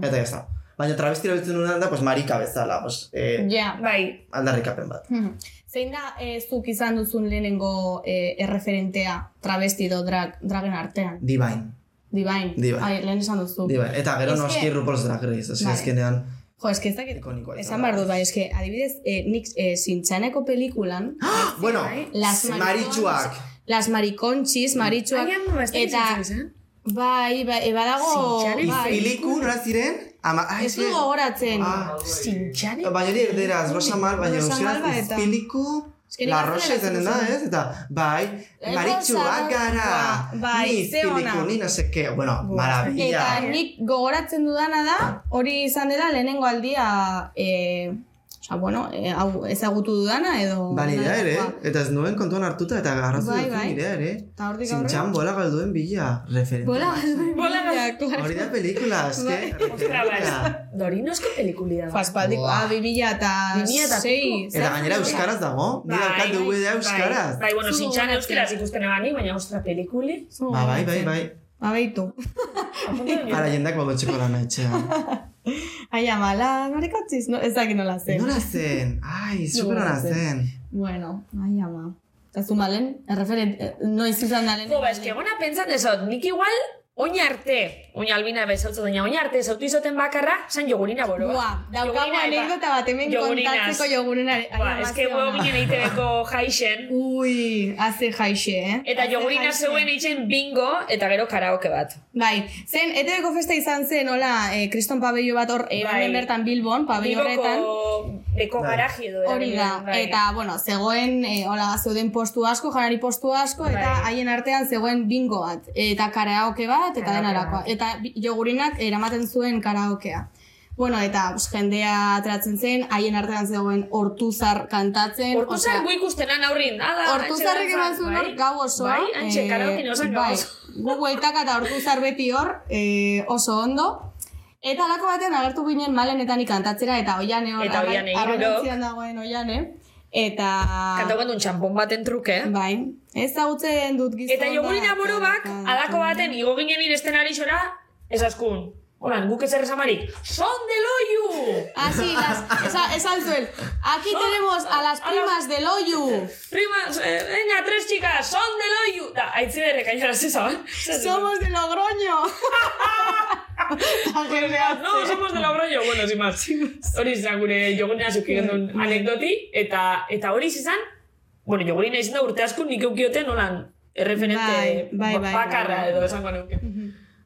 H: Eta ez da. Baina travesti erabiltzen duen da, pues, marika bezala, pues, eh,
F: Ja.
G: Bai,
H: aldarrikapen bat.
F: Mhm. Zein da eh, zuk izan duzun lehenengo eh, erreferentea travesti do drag, dragen artean?
H: Divine.
F: Divine.
H: Divine.
F: Ai, lehen esan duzu.
H: Divine. Eta gero
F: Ez que-
H: noski RuPaul's Drag Race, o sea,
F: Bai.
H: azkenean
F: Jo, eske ez dakit.
H: ikonikoa. izan
F: Esan behar dut, bai, eske, adibidez, eh, nik eh, sintxaneko pelikulan,
H: Ah, bueno,
F: Las maricons.
H: maritxuak.
F: Las Mariconchis, Maritxuak,
G: Agian beste
F: eta
G: bizitzen, eh?
F: bai, bai, badago,
G: Sintxanen
F: bai,
H: Izpiliku, nola ziren? Ama, ah,
F: ez
H: eske-
F: du gogoratzen.
H: Ah,
G: Zintxari?
H: Baina hori erderaz, rosa mal, baina
F: Rosa
H: euskaraz
F: Malva ba eta-
H: izpiliku,
F: Eske
H: la
F: nik
H: rosa
F: gaztelera
H: izanen da, ez?
F: ikusten
H: Eta, bai,
F: Eh,
H: maritxuak
F: Rosa,
H: gara,
F: ba, bai,
H: ni
F: ze ona.
H: izpiliku, ni no se que, bueno, maravilla.
F: Eta nik gogoratzen dudana da, hori izan dela lehenengo aldia, eh, oza, bueno, eh, hau ezagutu dudana edo...
H: Ba, nirea ere, eta ez nuen kontuan hartuta eta garrazu
F: Bai,
H: bai,
F: bai.
H: nirea ere.
F: Eta hortik aurrera.
H: Zintxan bola galduen bila, referente.
F: Bola galduen
G: Bola
F: bila, klaro.
H: Hori da pelikula, azke.
G: Ostra, bai. Dorinosko pelikuli da.
F: Faspaldiko,
H: Buah.
F: ah, bi mila eta
G: Bi mila eta
F: sei.
H: Eta gainera euskaraz dago, ni
F: Bai,
H: daukat DVD euskaraz.
G: Bai, bueno,
F: Zu
G: zintxan
F: gogoratzen.
G: euskaraz ikusten eban ni, baina ostra pelikuli.
H: Ba, bai, bai, bai.
F: Ba, beitu.
H: (laughs) Ara jendak bado txeko lana etxean.
F: (laughs) Ai, amala, marikotziz, no, ez dakit nola zen.
H: Nola zen? Ai, super ona zen.
F: Bueno, ai, ama. Eta zu malen, erreferent, eh, noiz izan da lehen.
G: Jo, ba, eske egona pentsan dezot, nik igual Oin arte, oin albina bezaltzu dena, oin arte, zautu izoten bakarra, san jogurina boloa.
F: Ua, daukagu
G: Jogurina, ba. eta-
F: anekdota bat hemen
G: Jogurinaz.
F: kontatzeko jogurina.
G: Ba, eske huevo ginen eitebeko
F: (laughs)
G: jaixen,
F: Ui, haze jaixe, eh?
G: eta
F: Haze
G: jogurina
F: jaixe.
G: zeuen eitzen bingo, eta gero karaoke bat.
F: Bai, zen, etebeko festa izan zen, hola, eh, kriston pabello bat hor, eh,
G: Bai.
F: Baden bertan Bilbon, pabello horretan.
G: Bilboko beko
H: Bai.
G: garaji edo.
F: Hori da,
G: bai.
F: eta, bueno, zegoen, e, hola, zeuden postu asko, janari postu asko, eta
G: Bai.
F: haien artean zegoen bingo bat, eta karaoke bat, eta
G: Karaoke
F: denarakoa.
G: bat.
F: Eta bi- jogurinak eramaten zuen karaokea. Bueno, eta pues, jendea atratzen zen, haien artean zegoen hortuzar kantatzen.
G: Hortuzar gu ikusten lan aurrin. Ala,
F: Hortuzarrek
G: Antxe
F: eman
G: dantzan,
F: zuen hor
G: Ah, bai.
F: gau osoa.
G: Bai, antxe,
F: eh,
G: karaoke nosan gau
F: bai,
G: osoa.
F: Gu bueltaka eta hortuzar beti hor eh, oso ondo. Eta alako batean agertu ginen malenetanik kantatzera eta oiane hor.
G: Eta
F: arra-
G: Oihane, hirurok.
F: arrantzian dagoen oiane. Eta...
G: Kantau gendun txampon baten truke.
F: Ah. Bai, ezagutzen dut gizona.
G: Eta jogurina borobak, alako baten, igo ginen iresten ari xora, esaskun. Horan, guk ezer esamarik. Son de loiu!
F: Así, Ah, las,
G: (laughs)
F: esa, esan zuen. Aquí tenemos a las primas del Oyu.
G: Oh, Primas, eh, venga, tres chicas, son de loiu! Da, aitzi berrek, ainara, zezaban.
F: Somos de
G: (laughs)
F: Logroño. Eta jendeak
G: No, somos de Logroño, bueno, sin más. Hori izan gure jogurina zuki gendun
F: Bai.
G: anekdoti, eta, eta hori izan, bueno, jogurina izan da urte asko nik eukioten nolan erreferente
F: Bai, bai, bai,
G: bakarra
F: bai, bai.
G: edo esango neuke.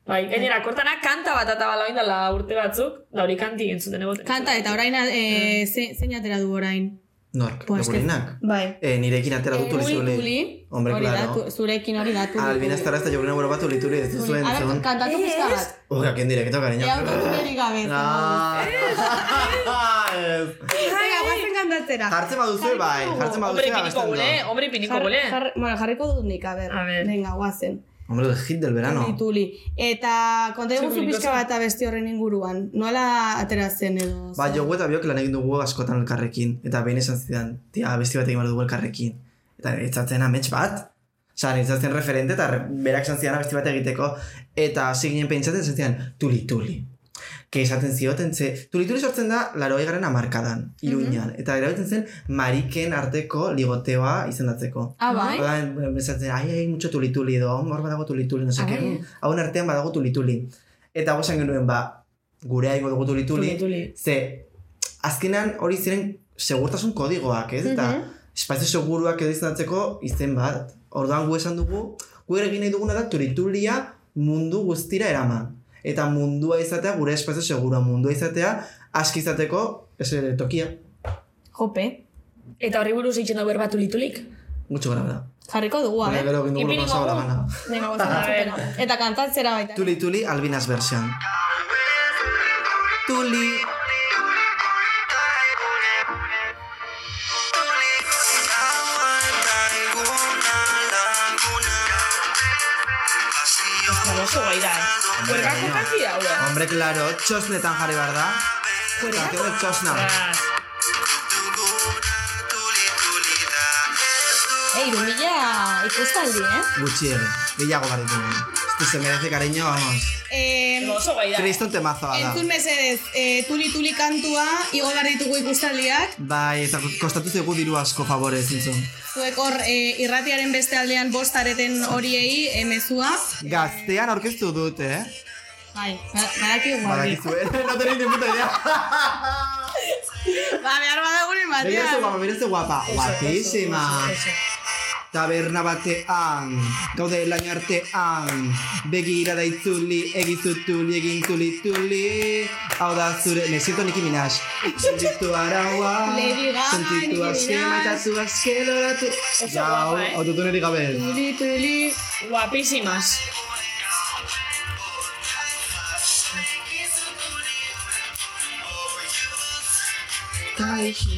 G: Bai, gainera, kortana kanta bat atabala indala urte batzuk, da hori kanti entzuten egoten.
F: Kanta eta orain eh, ze, zein atera du orain?
H: Nork,
F: Pues que-
H: jogurinak.
F: Bai.
H: Eh, nirekin atera dut
F: Tuli,
H: ulizule.
F: tuli.
H: Hombre,
F: hori da,
H: claro. Ah,
F: tu- zurekin hori da. tuli,
H: Albina
F: tuli.
H: ez tarra ez da jogurina boro bat ulituli ez
F: Tuli.
H: duzuen.
F: A ver, kantatu pizka bat.
H: Oga, kien direkto, cariño.
F: Ea autotunerik gabe.
H: Ah. (laughs) Ez.
F: Venga, guazen kantatzera.
H: Jartzen baduzue, bai. Jartzen
G: Hombre
H: baduzue,
G: piniko
H: gabesten
G: gule,
H: da.
G: hombre piniko
F: Jar-
G: gule.
F: jar- bueno, jarriko dut nik, a ver.
G: A ver.
F: Venga, guazen.
H: Hombre, el hit del verano.
F: Tuli, tuli. Eta konta eguzu
G: Txirrindulikosa.
F: pixka bat abesti horren inguruan. Nola atera zen edo?
H: Ba, jogu eta biok lan egin dugu askotan elkarrekin. Eta behin esan zidan, tia, besti bat egin behar dugu elkarrekin. Eta niretzatzen amets bat. Osa, niretzatzen referente eta re- berak esan zidan abesti bat egiteko. Eta hasi ginen pentsatzen esan zidan, tuli, tuli. Ke esaten zioten, ze, tuli, tuli sortzen da, laro garen amarkadan, iruñan. Eta erabiltzen zen, mariken arteko ligoteoa izendatzeko.
F: Ah, bai.
H: Orduan, esatzen, ai, ai, mucho tulituli edo, hor badago tulituli, no seke, hauen artean badago tulituli. Eta gozan genuen, ba, gurea ingo dugu tulituli,
G: Tuli-tuli.
H: ze, azkenan hori ziren segurtasun kodigoak, ez? Eta, espazio seguruak edo izendatzeko izen bat. Orduan gu esan dugu, gu ere egin nahi duguna da tulitulia mundu guztira eraman. Eta mundua izatea gure espazio segurua, mundua izatea aski izateko, ez eh, tokia,
F: Jope.
G: Eta horri buruz itxen dauber bat ulitulik.
H: gutxo gara da.
F: Jarriko dugu, a
H: Baina
F: ver.
H: Bai, gero egin dugu
G: Ipiniko
H: gauza
G: gu.
H: bala gana.
F: Venga, guazen. entzutera. Eta kantatzera baita.
H: Tuli Tuli Albinas version. Tuli.
G: Baina oso gai da. Huergako kanti da, hura.
H: Hombre, claro, txosnetan jarri behar da. Kanteko txosna.
F: Ei, du mila ikustaldi, eh?
H: Gutxi ere, gehiago behar ditugu. Este se merece cariño, vamos.
F: Eh,
G: Oso gai da.
H: Kriston temazoa da.
F: entzun mesedez, eh, tuli-tuli kantua, igo behar ditugu ikustaldiak,
H: Bai, eta kostatu zego diru asko favorez, zintzun.
F: zuek hor eh, irratiaren beste aldean bostareten horiei eh, mezua.
H: Gaztean aurkeztu dut, eh?
F: Bai, badaki guardi.
H: Badakizu, eh? (laughs) No tenéis ni puta idea.
F: Ba, behar badaguren
H: Mira este guapa,
F: batean.
H: mira este guapa. Guapísima. Taberna batean, gaude laino artean, begirada itzuli, egizu tuli, egin tuli tuli, hau da zure, me siento Nicki Minaj, sentitu araua,
F: Lady Gaga,
H: sentitu
F: Nicki
H: askema
F: Minaj.
H: eta zu askeloratu, jau,
G: guapa, eh?
H: autotunerik gabe.
F: Tuli-tuli.
G: Guapísimas.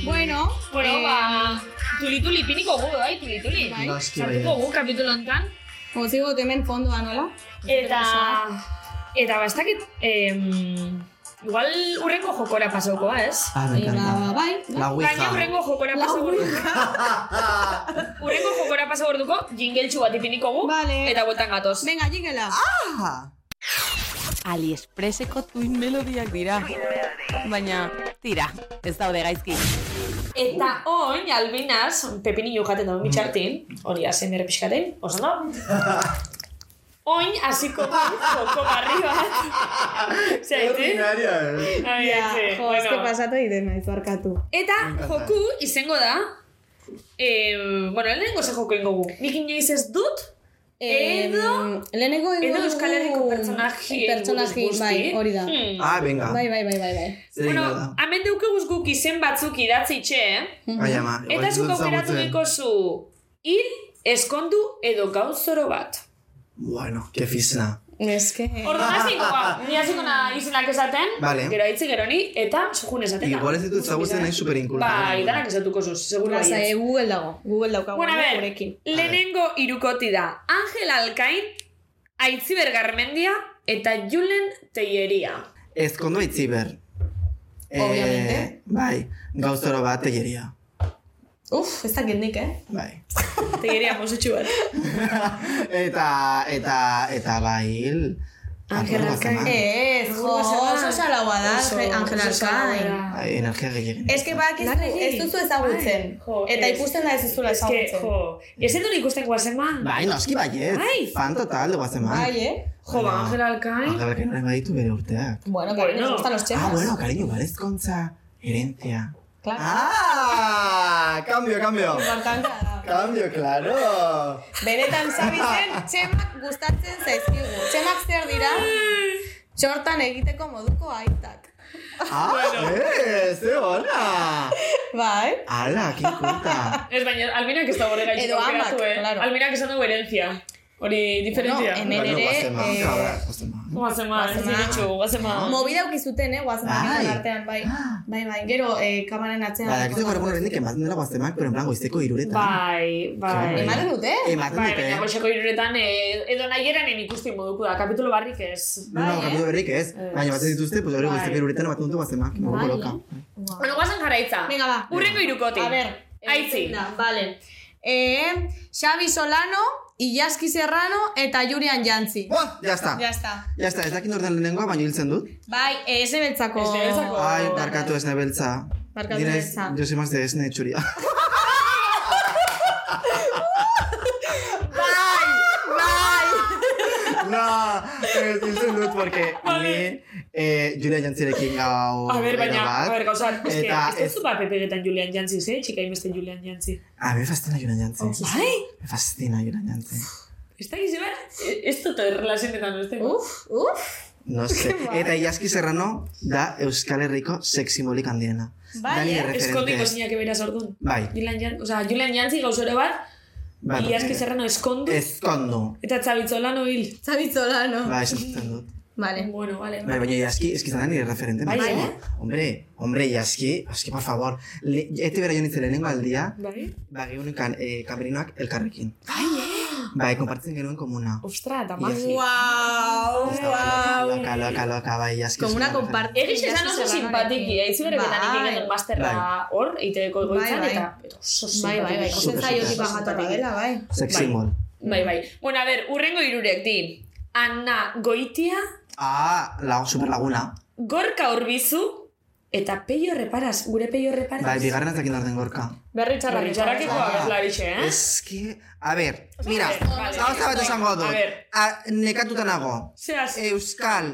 F: Bueno,
G: Bueno,
F: eh,
G: ba... Tuli-tuli piniko gu, bai, tuli-tuli.
H: Noski
G: Sartuko
H: bai.
G: gu kapitulo honetan.
F: Utzi dut hemen fondoa nola?
G: Eta... Eta ba, ez dakit... em, Igual urrengo jokora pasauko, ez?
H: Ah, me
F: Eh, ba,
H: encanta.
F: bai.
H: La
G: Gaina
H: Ouija.
G: urrengo jokora (laughs) pasauko. Urrengo jokora pasauko orduko, jingeltxu bat ipiniko gu.
F: Vale.
G: Eta bueltan gatoz.
F: Venga, jingela.
G: Ah,
B: Aliexpresseko tuin melodiak dira. Baina, tira, ez daude gaizki.
G: Eta oin, (laughs) albinaz, pepinillo jaten dago mitxartin, hori azen bere pixkaten, osan da? oin hasiko du joko barri (laughs) bat. Zaiti?
H: Ordinaria, eh?
G: Ai,
F: Ja,
G: etxe,
F: jo, eske pasatu egiten naiz barkatu.
G: Eta
H: encanta.
G: joku izango da, eh, bueno, lehenengo ze joko ingo gu. Nik inoiz ez dut, Edo-
F: Em, lehenengo
G: edo
F: egingo
G: Euskal Herriko
F: dugu
G: pertsonaji.
F: pertsonaji, bai, hori da.
G: Hmm.
H: Ah, venga.
F: Bai, bai, bai, bai, bai.
H: Zer
G: bueno,
H: egingo da?
G: hemen deukeguz guk izen batzuk idatzi itxe, eh?
F: Hmm.
H: Bai, ama. igual
G: Eta
H: ez dut
G: zuk aukeratu
H: ezagutzen.
G: dikozu hil, eskondu edo gauzoro bat.
H: Bueno, que fizna.
F: Eske...
G: Orduan hasiko ba, ni hasiko na izenak esaten,
H: Vale.
G: gero aitzi gero ni, eta sujun esaten da.
H: Igual ez ditut zagutzen nahi superinkulta.
G: Bai, danak esatuko zuz, seguro
F: Laza,
G: baiet.
F: eh, Google dago. Google daukagu
G: Bueno, a
F: bueno,
G: ver,
F: gurekin.
G: lehenengo irukoti da. Angel Alkain, Aitziber Garmendia eta Julen Teieria.
H: Ezkondo aitziber. Eh,
F: Obviamente.
H: bai, gauzoro bat tegeria.
F: Uf, ez dakit nik, eh?
H: Bai.
G: Teieria mozutxu (laughs) bat.
H: eta, eta, eta bai, hil.
G: Angela
H: Arduraz eman.
F: Ez, jo, oso salaua da, Angela Arkain.
H: Bai, energia gehiagin.
F: Ez que ba- bak, ez duzu ezagutzen. Eta ikusten da ez duzula
G: Ez que,
F: ezagutzen.
G: jo, ez duen ikusten guazema.
H: Bai, noski baiet.
G: Bai.
H: Fan total de guazeman.
F: Bai, eh?
G: Jo, ba, Angel Alkain.
H: Angela Alkain orain baditu bere urteak.
F: Bueno, cariño,
G: Bueno.
F: nos gustan los chemas.
H: Ah, bueno, cariño, igual ezkontza. Herentzia.
F: Claro.
H: Ah, cambio, cambio.
F: Bai. Importantea da.
H: Cambio, claro.
F: Benetan zabi
H: (laughs)
F: zen, txemak gustatzen zaizkigu. Txemak zer dira? Txortan egiteko moduko aitak.
H: Ah, eh, ze ona.
F: Bai?
H: Ala, qué culta.
G: Ez baina, albinak ez da gore gaitzik
F: Edo amak,
G: aukeratu, eh?
F: claro.
G: Albinak esan du herentzia. Hori, diferentzia.
F: Bueno, hemen ere, eh,
G: Guazema, ez
F: guazema.
G: ditxu, guazema.
F: Movida ukizuten, eh, guazmaketan
H: Ah. Bai.
F: artean, bai. Bai, bai, gero eh, kamaren atzean.
H: Badakizu gaur egun horrendik ematen dela guaztemak, pero en plan goizteko iruretan.
G: Bai, bai.
H: Bai.
F: Ematen dute?
H: Ematen
G: Bai,
H: dute.
G: baina goxeko iruretan, eh, edo nahi eranen ikusti moduko da, kapitulo barrik ez.
H: No, no, kapitulo berrik ez. Baina batzen dituzte, pues hori
G: Bai.
H: goizteko iruretan ematen dute guaztemak. Mogu loka.
G: Bueno, guazen jarraitza.
F: Venga, ba.
G: Urrengo irukoti.
F: A ver,
G: Aitzi.
F: egiten Da, vale. Eh, Xavi Solano, Illaski Serrano eta Julian Jantzi.
H: Buah, ya está.
F: Ya está.
H: Ya está, ez dakit norten lehenengoa, baina hiltzen dut.
F: Bai, esne beltzako.
G: Esne beltzako. Oh.
H: Ai, barkatu esne beltza.
F: Barkatu
H: Dira ez-
F: beltza.
H: Yo soy más de esne txuria. No, ez hiltzen dut, porque ni eh, Julia Jantzirekin gau...
G: A ver, baina,
H: erabat.
G: a ver, gauzat, eske,
H: Eta
G: ez duzu bat pepegetan Julian Jantziz, eh? Txika imeste Julian Jantziz.
H: A me fascina Julian Jantzi.
G: Bai?
H: Me fascina Julian Jantzi.
G: Ez da gizu bat, E, ez dut erlazionetan beste.
F: Uf, uf.
H: No sé. Eta Iaski Serrano da Euskal Herriko seximolik handiena.
F: Bai,
H: Da nire
F: eh?
G: Eskondiko
H: referente.
G: zinak ebera sortun.
H: Bai.
G: Julian Jantziz, oza, Julian Jantziz gauzore bat,
H: Bai,
G: iaski
H: eh,
G: zerrano eskondu,
H: Ezkondu.
G: eta txabitzola noil.
F: Xavi Solano.
H: Bai, esaten dut.
F: Vale.
G: Bueno, vale.
H: Bai, baina Iaski, eski zan nire referente.
G: Bai,
H: macho.
G: eh?
H: Hombre, hombre, Iaski, eski, por favor. Le, ete bera jo nintzen lehenengo aldia,
G: Bai?
H: ba, geunenkan eh, kamerinoak elkarrekin. Bai, eh? Bai, kompartzen genuen komuna.
G: Ostra, eta
H: Iasi.
G: magia.
F: Wow,
H: Ez da, Loka, loka, loka, loca, bai, Iaski.
F: Como una
H: oso referente.
F: comparte.
G: Eriz esan oso simpatiki, eh. haitzi bere betan
F: Bai.
G: ikin genuen masterra
H: Bai.
G: hor, eiteko egoitzan,
F: Bai, bai.
G: eta oso
F: Bai, bai, bai.
G: simpatiki.
H: Oso
F: Ozen zaio
H: super,
F: tipa jatorra dela, bai.
H: Sex
G: Bai.
H: symbol.
F: Mm.
G: Bai, bai. Bueno, a ver, urrengo irurek di. Anna Goitia,
H: Ah, la super laguna.
G: Gorka Urbizu, eta Peio Reparas, gure Peio Reparas.
H: Bai, bigarren zakin orden gorka.
G: Berri txarra, berri txarra, keko abeslarixe, eh?
H: Ez que... A ber, mira,
G: Vale.
H: gauza bat esango
G: A
H: dut.
G: ber.
H: A- Nekatuta nago.
G: Zeraz,
F: Eh,
H: Euskal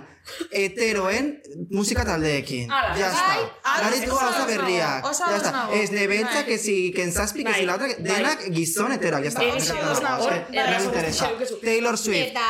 H: heteroen musika taldeekin.
G: Hala.
H: Ya está.
G: Bai,
F: ados,
H: Garitko
F: oso
H: gauza
F: ados
H: berriak.
F: nago, oso
H: Ya
F: ados
H: está.
F: nago.
H: Ez nebeltza,
F: Bai.
H: que si kenzazpi, que
G: Bai,
H: si la otra...
G: bai.
H: Denak gizon heteroak, ya está.
G: Erizo,
H: Nekatuta nago,
G: hor,
H: es que
G: errazu
H: No me interesa.
G: zeukezu.
H: Taylor Swift.
F: Eta...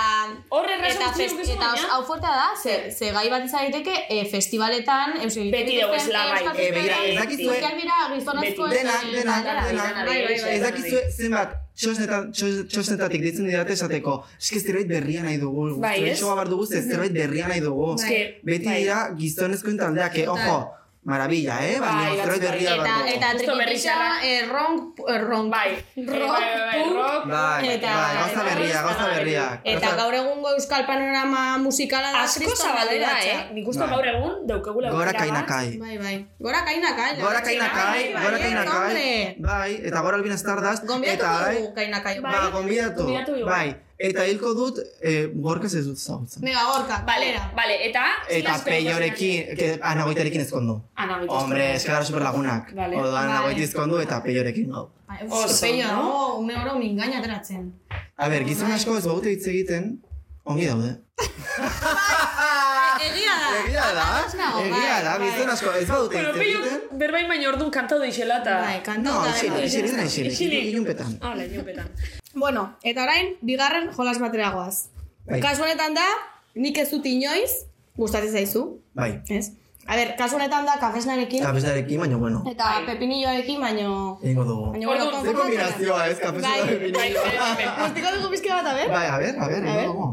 G: Hor errazu
F: Eta,
G: gutxi
F: fest,
G: dukezu,
F: eta
G: baina-
F: hau fuertea da, ze, ze gai bat izan daiteke e, festivaletan, euskal
G: Beti
F: dituzten
G: dugu esla, bai.
F: euskal
H: Eh, begira,
F: festivaletan,
H: ez dakizue-
F: euskal dira gizonezko...
G: Beti.
H: Denak, denak, denak.
G: Bai, bai, bai.
H: Ez dakizue zenbat txosnetan- txos- txosnetatik ditzen didate esateko, eske zerbait berria nahi dugu,
G: Bai, ez?
H: zerbait behar dugu, ze zerbait berria nahi dugu.
G: Eske,
H: Beti
G: bai.
H: dira gizonezkoen taldeak, eh, ojo, maravilla, eh? Baina
G: Bai,
H: zerbait
G: batzuk
H: berria
G: bai.
H: behar
F: Eta,
H: dugu.
F: eta eh,
G: Justo berri
F: trikitxa,
G: txarra.
F: erronk, erronk, (laughs)
G: bai.
F: rock,
G: Bai, bai, bai,
F: punk,
G: rock.
H: Bai,
F: Eta-
H: bai, gauza berria, gauza berria.
F: Eta gaur egungo euskal panorama musikala da
G: Asko
F: kriston
G: zabaldu da,
F: alderatxa.
G: eh? Nik uste
H: Bai.
G: gaur egun daukagula eh.
H: Gora
G: aukera bat.
H: kainakai.
F: Bai, bai. Gora kainakai. la
H: Gora
F: verdad.
H: kainakai,
F: Bai,
H: gora
F: bai,
H: kainakai.
F: hombre.
H: Bai, eta gora albina stardaz.
F: Gonbidatuko
H: Eta bai,
F: dugu kainakai.
G: Bai.
H: ba, gonbidatu.
G: Gonbidatu dugu.
H: Bai, eta hilko dut, eh, gorkaz ez dut ezagutzen.
F: Mega gorka,
G: Vale,
F: kalera.
G: vale, eta...
H: Eta
G: Zilazko-
H: peiorekin, que- ah, anagoitarekin ezkondu.
G: Ana, bitu.
H: Hombre, es que gara superlagunak.
G: Vale.
H: Vale. Odoan
F: Vale.
H: vale. agoitizkondu eta peiorekin gau.
F: Bai,
G: Oso,
F: Oso, peio,
G: no?
F: no? Un euro mingaina ateratzen.
H: A ber, gizon asko ez baute hitz egiten, Ongi daude. (laughs)
G: Ah,
F: Egia da.
H: Egia da,
F: nago,
H: egia
F: bai,
H: da,
F: bai.
H: bizten asko, ez badute
G: Bueno,
H: hitz egiten.
G: peluk berbain baino orduan kantau deixela eta...
F: Bai, kanta
H: No,
F: eta-
H: isilik, isilik, dena isilik,
G: Isilik.
H: ilunpetan.
G: Hala, inopetan.
F: Bueno, eta orain, bigarren jolas batera goaz.
H: Bai.
F: Kasu honetan da, nik ez dut inoiz, gustatzen zaizu,
H: Bai,
F: ez? A ber, kasu honetan da, kafesnarekin,
H: kafesnarekin, baina bueno,
F: eta pepinilloarekin, baino...
H: egingo dugu.
F: Baina, bueno,
G: Orduan,
H: Ze
F: konfrontatzen gara.
H: kombinazioa ez, kafesnean
F: Bai.
G: Bai,
H: pepinillo.
G: bai,
F: (laughs)
G: bai.
F: Gustiko dugu pizka bat, a ber?
H: Bai, a ber, a ber,
F: ber.
H: egingo dugu.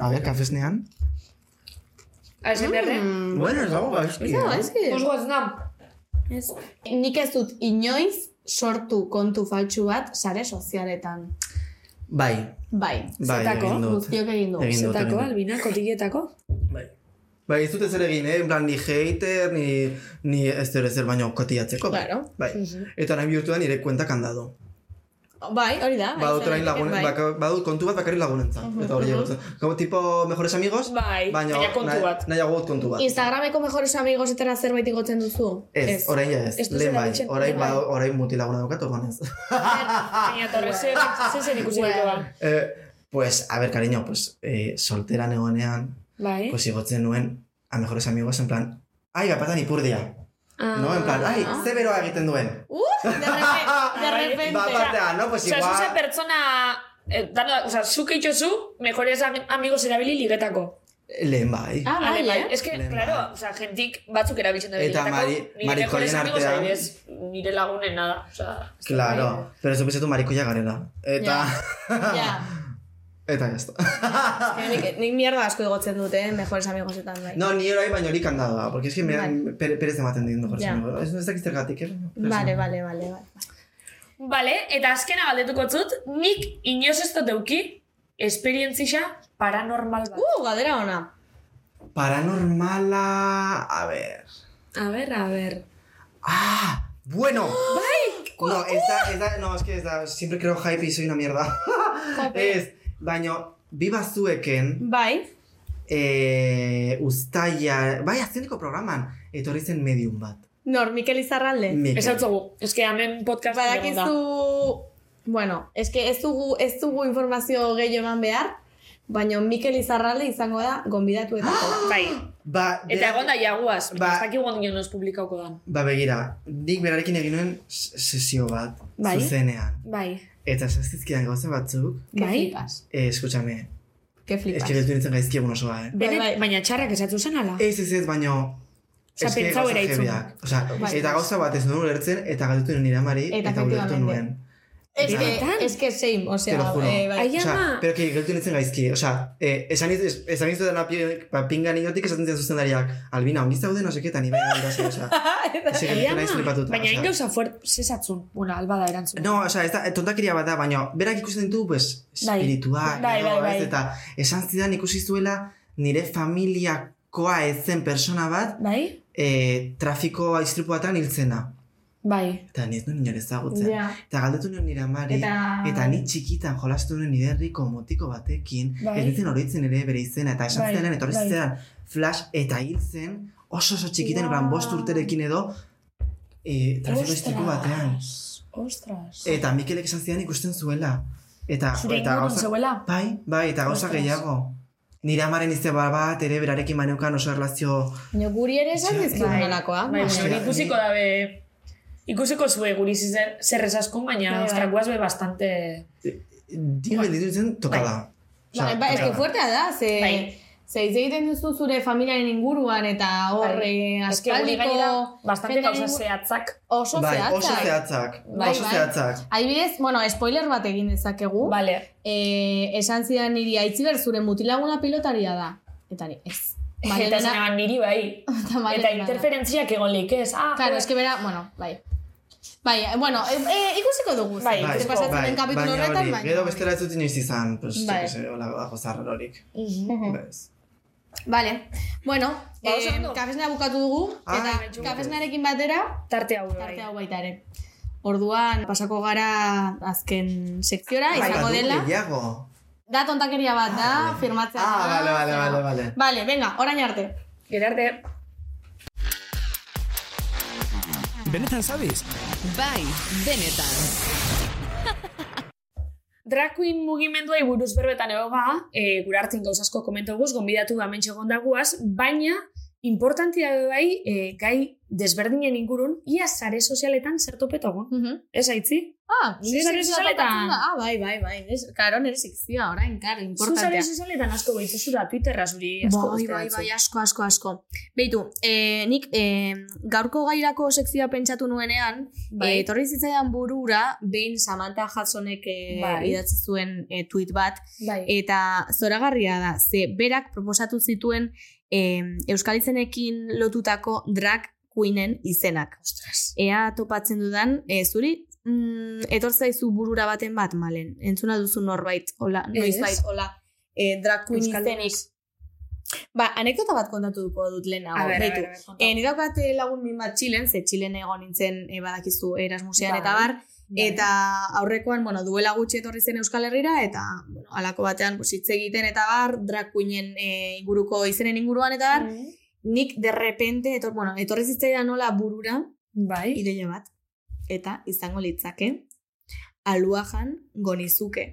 H: A ber, kafesnean.
G: ASMR.
H: Bueno, ez dago gaizki.
F: No, ez que...
G: Os guaz nam.
F: Ez. Nik ez dut inoiz sortu kontu faltsu bat sare sozialetan.
H: Bai,
F: Bai,
H: bai,
G: Zetako,
H: egin dut.
F: guztiok egin dugu.
H: Egin dut, egin
G: Zetako,
H: dut.
G: albina, kotikietako.
H: Bai. Bai, ez dut ezer egin, eh? En plan, ni hater, ni, ni ez dut ezer baino kotiatzeko. Bai.
F: Claro.
H: bai. Eta nahi bihurtu da nire kuentak handado.
F: Bai, hori da.
G: Ah,
F: bai,
H: Badut
F: zer
H: orain lagun,
F: egiten,
H: baka- badut kontu bat bakarrik lagunentzat. Eta hori egotzen. Gau tipo mejores amigos,
G: Bai, baina kontu
H: nahi-
G: bat.
H: Nahiago dut kontu bat.
F: Instagrameko mejores amigos etera zerbait igotzen duzu?
H: Ez, orain ja ez,
G: Ez duzu
H: lehen bai,
G: erabiltzen,
H: orain,
G: bai.
H: ba, orain mutilaguna daukat, orduan ez.
G: Baina, torre, ze ze zer ikusi ditu da.
H: eh, pues, a ver, cariño, pues, eh, soltera negonean,
G: Bai.
H: pues igotzen nuen, a mejores amigos, en plan, ai, gapatan ipurdia.
F: Ah,
H: No, en plan, ai, ze beroa egiten duen.
F: Uh,
H: (laughs)
F: de repe- de
G: Bai,
F: repente.
H: Ba, batean, no, pues
G: Osa,
H: igual...
G: zuze pertsona... Eh, dana, osa, zuk eitxozu, mejores am- amigos erabili ligetako.
H: Lehen bai.
F: Ah,
G: Ale,
F: bai,
G: bai,
F: eh?
G: es que,
H: Lehen,
G: claro,
H: bai.
G: o sea, gentik batzuk erabiltzen da
H: Eta
G: biletako,
H: mari-
G: nire
H: marikoien
G: mejores amigos
H: artean.
G: adibidez, nire lagunen nada, o sea,
F: bai.
H: Claro, pero eso pensatu marikoia garela. Eta... (laughs)
F: Ja.
H: Eta ya está.
F: Baina Nik, nik mierda asko igotzen dut, eh, mejores amigosetan bai.
H: No, ni orain baino horik handado da, porque es que me,
F: Bai.
H: pere, perez ematen dien mejores
F: Ja.
H: amigos. Ez ez dakit zergatik, eh?
F: Vale, vale, vale, vale.
G: bai. Vale, eta azkena galdetuko zut, nik inoz ez dut euki, esperientzisa paranormal bat.
F: Uh, galdera ona.
H: Paranormala... A ver...
G: a ber, a ber.
H: ¡Ah! ¡Bueno! No, esta, esta, no, es que esta, siempre creo hype y soy una mierda. es, baino, biba zueken,
F: Bai.
H: eh, ustaia, bai, azkeneko programan, etorri zen eh, medium bat.
F: Nor, Mikel Izarralde.
H: Mikel.
G: Ez hau zugu, ez que hemen podcast
F: Badakizu... Bueno, eske ez dugu, ez dugu informazio gehi eman behar, baina Mikel Izarralde izango da
H: (gasps)
F: gonbidatuetako.
G: Bai,
H: Ba,
G: eta
H: berak-
G: egon da jaguaz,
H: Ba-
G: baina ez dakik gondin nos publikauko dan.
H: Ba, begira, nik berarekin egin nuen s- sesio bat,
G: Bai.
H: zuzenean.
G: Bai,
H: Eta sazkizkidan gauza batzuk,
F: Ke
G: bai.
F: flipas.
H: eh, eskutxame,
F: Ke flipas.
H: eskiretu nintzen gaizki egun osoa, eh?
G: Bene,
F: Bai, bai.
G: baina txarrak esatzu zen ala.
H: Ez, ez, ez, baino...
G: Osea,
H: eske
G: pentsau
H: gauza
G: eraitzun.
H: heavyak. Osea,
F: Bai.
H: eta gauza bat ez nuen ulertzen, eta galdetu nuen nire amari,
F: Eta
H: eta, ulertu
F: efectivamente.
H: nuen.
F: Es que,
G: Benetan?
F: es que same, o
H: Te lo
F: sea,
H: juro.
F: eh, bai.
G: Ai,
H: Osea,
G: ama.
H: pero que galdetu nintzen gaizki, osea, eh, esan iz, es- esan izan dena pa, ba, pinga niotik esaten zian zuzendariak, albina, ongi zaude, no seke, eta nire galdasi,
G: (laughs)
H: osea, ez
G: Egia
H: egin naiz
G: da,
H: flipatuta.
G: baina
H: osea.
G: egin gauza fuert, zesatzun, bueno, alba da erantzun.
H: No, osea, ez da, eh, tontakeria bat da, baina berak ikusten ditu, pues,
G: Bai.
H: espirituak,
G: Bai, bai,
H: edo,
G: bai.
H: ez, eta esan zidan ikusi zuela nire familiakoa ez zen persona bat,
G: Bai?
H: eh, trafiko istripuatan hiltzena.
G: Bai.
H: Eta ni ez nuen inor ezagutzen.
F: Ja.
H: Eta galdetu nion nire amari.
F: (laughs) Eta-
H: ni txikitan jolastu nuen niderriko motiko batekin.
G: Bai.
H: Ez nintzen oroitzen ere bere izena. Eta esan
G: Bai,
H: zelen, etorri
G: bai.
H: zitzaidan flash eta hil zen oso oso txikitan, wow. bost urterekin edo e, trafiko istripu batean.
G: Ostras.
H: Eta Mikelek esan zidan ikusten zuela. Eta,
G: Zure
H: eta
G: ingurun zeuela?
H: Bai, bai, eta gauza
G: Ostras.
H: gehiago. Nire amaren izeba bat, ere berarekin maneukan oso erlazio
F: Baina guri ere esan
H: Ja.
F: dizkigun halakoak.
G: Bai,
H: Ostia,
G: baina hori ikusiko
H: ni-
G: da be... Ikusiko zue guri zizen zer esaskun, baina
F: Bai, bai.
G: ostra guaz be bastante...
H: Digo, gelditu nintzen tokada.
F: Ba, ba, eske fuertea da, ze...
G: Bai.
F: Ze hitz egiten duzu zure familiaren inguruan eta hor eh,
G: Eske guri
F: aspaldiko...
G: gainera bastante
F: jendearen
G: gauza
F: ingu-
G: zehatzak.
F: Oso
H: Bai,
F: zehatzak.
H: oso zehatzak.
G: Bai,
H: oso
F: bai.
H: zehatzak.
F: Adibidez, bueno, spoiler bat egin dezakegu.
G: Bale.
F: Eh, esan zidan niri aitziber zure mutilaguna pilotaria da. Eta ni,
G: (laughs)
F: ez.
G: Eta
F: Marilena-
G: zenean niri bai.
F: Marilena
G: (laughs) Eta
F: da.
G: interferentziak egon leik ez. Ah,
F: Claro,
G: jo,
F: eske bera, bueno, bai. Bai, eh, bueno, eh, eh, ikusiko dugu.
G: Bai,
F: zer pasatzen den kapitulu
H: baina
F: horretan,
H: hori,
F: baina.
H: Gero bestera ez dut inoiz izan, pues,
F: Bai.
H: bai. hola, dago zarrar
F: (laughs)
H: horik. Bez.
F: Vale. Bueno,
G: Ba, oso
F: eh,
G: ondo. Bai,
F: kafesna bukatu dugu,
H: Ah,
F: eta kafesnarekin batera,
G: Tarte hau bai.
F: tarte hau baita ere. Orduan, pasako gara azken sekziora, Ah, izango
H: Bai, badu
F: dela.
H: Gehiago.
F: Da tontakeria bat da, firmatzea.
H: Ah,
F: da,
H: bale, bale,
F: zera.
H: bale, bale.
F: Vale, venga, orain arte.
G: Gerarte.
C: Benetan zabiz?
E: Bai, benetan.
G: drag queen mugimenduei buruz berbetan egoga, e, gure hartzen gauzasko komento guz, gombidatu da mentxe gondaguaz, baina importantia be bai e, gai desberdinen ingurun, ia sare sozialetan zertopetogun.
F: Mhm.
G: Ez aitzi?
F: Ah, nire
G: Zure
F: sare
G: sozialetan.
F: sozialetan. Ah, bai, bai, bai. Ez, karo, nire sekzioa, orain, karo,
G: Zu sare
F: importantea.
G: sozialetan asko behitzu da, Twitterra zuri asko
F: Bai,
G: guztia
F: bai,
G: datzu.
F: bai, asko, asko, asko. Beitu, eh, nik eh, gaurko gairako sekzioa pentsatu nuenean,
G: Bai.
F: eh, etorri zitzaidan burura, behin Samantha Hudsonek eh,
G: Bai.
F: idatzi zuen eh, tweet bat,
G: bai.
F: eh, eta zoragarria da, ze berak proposatu zituen eh, Euskal izenekin lotutako drag queenen izenak.
G: Ostras.
F: Ea topatzen dudan, eh, zuri, mm, etor zaizu burura baten bat, malen, entzuna duzu norbait, hola, noizbait, hola, eh, drag queen
G: Euskaldunez.
F: izenik. Ba, anekdota bat kontatuko dut lehenago,
G: A ber, a
F: beitu.
G: ber, a ber, kontatu.
F: Eh, nire daukat eh, lagun min bat Txilen, ze Txilen egon nintzen eh, badakizu Erasmusean
G: Bai,
F: eta bar,
G: Bai.
F: eta aurrekoan, bueno, duela gutxi etorri zen Euskal Herrira, eta bueno, alako batean pues, hitz egiten eta bar, drag queenen eh, inguruko izenen inguruan eta bar,
G: Mhm.
F: nik derrepente, etor, bueno, etorri zitzaidan nola burura,
G: Bai.
F: ideia bat, eta izango litzake, aluajan gonizuke.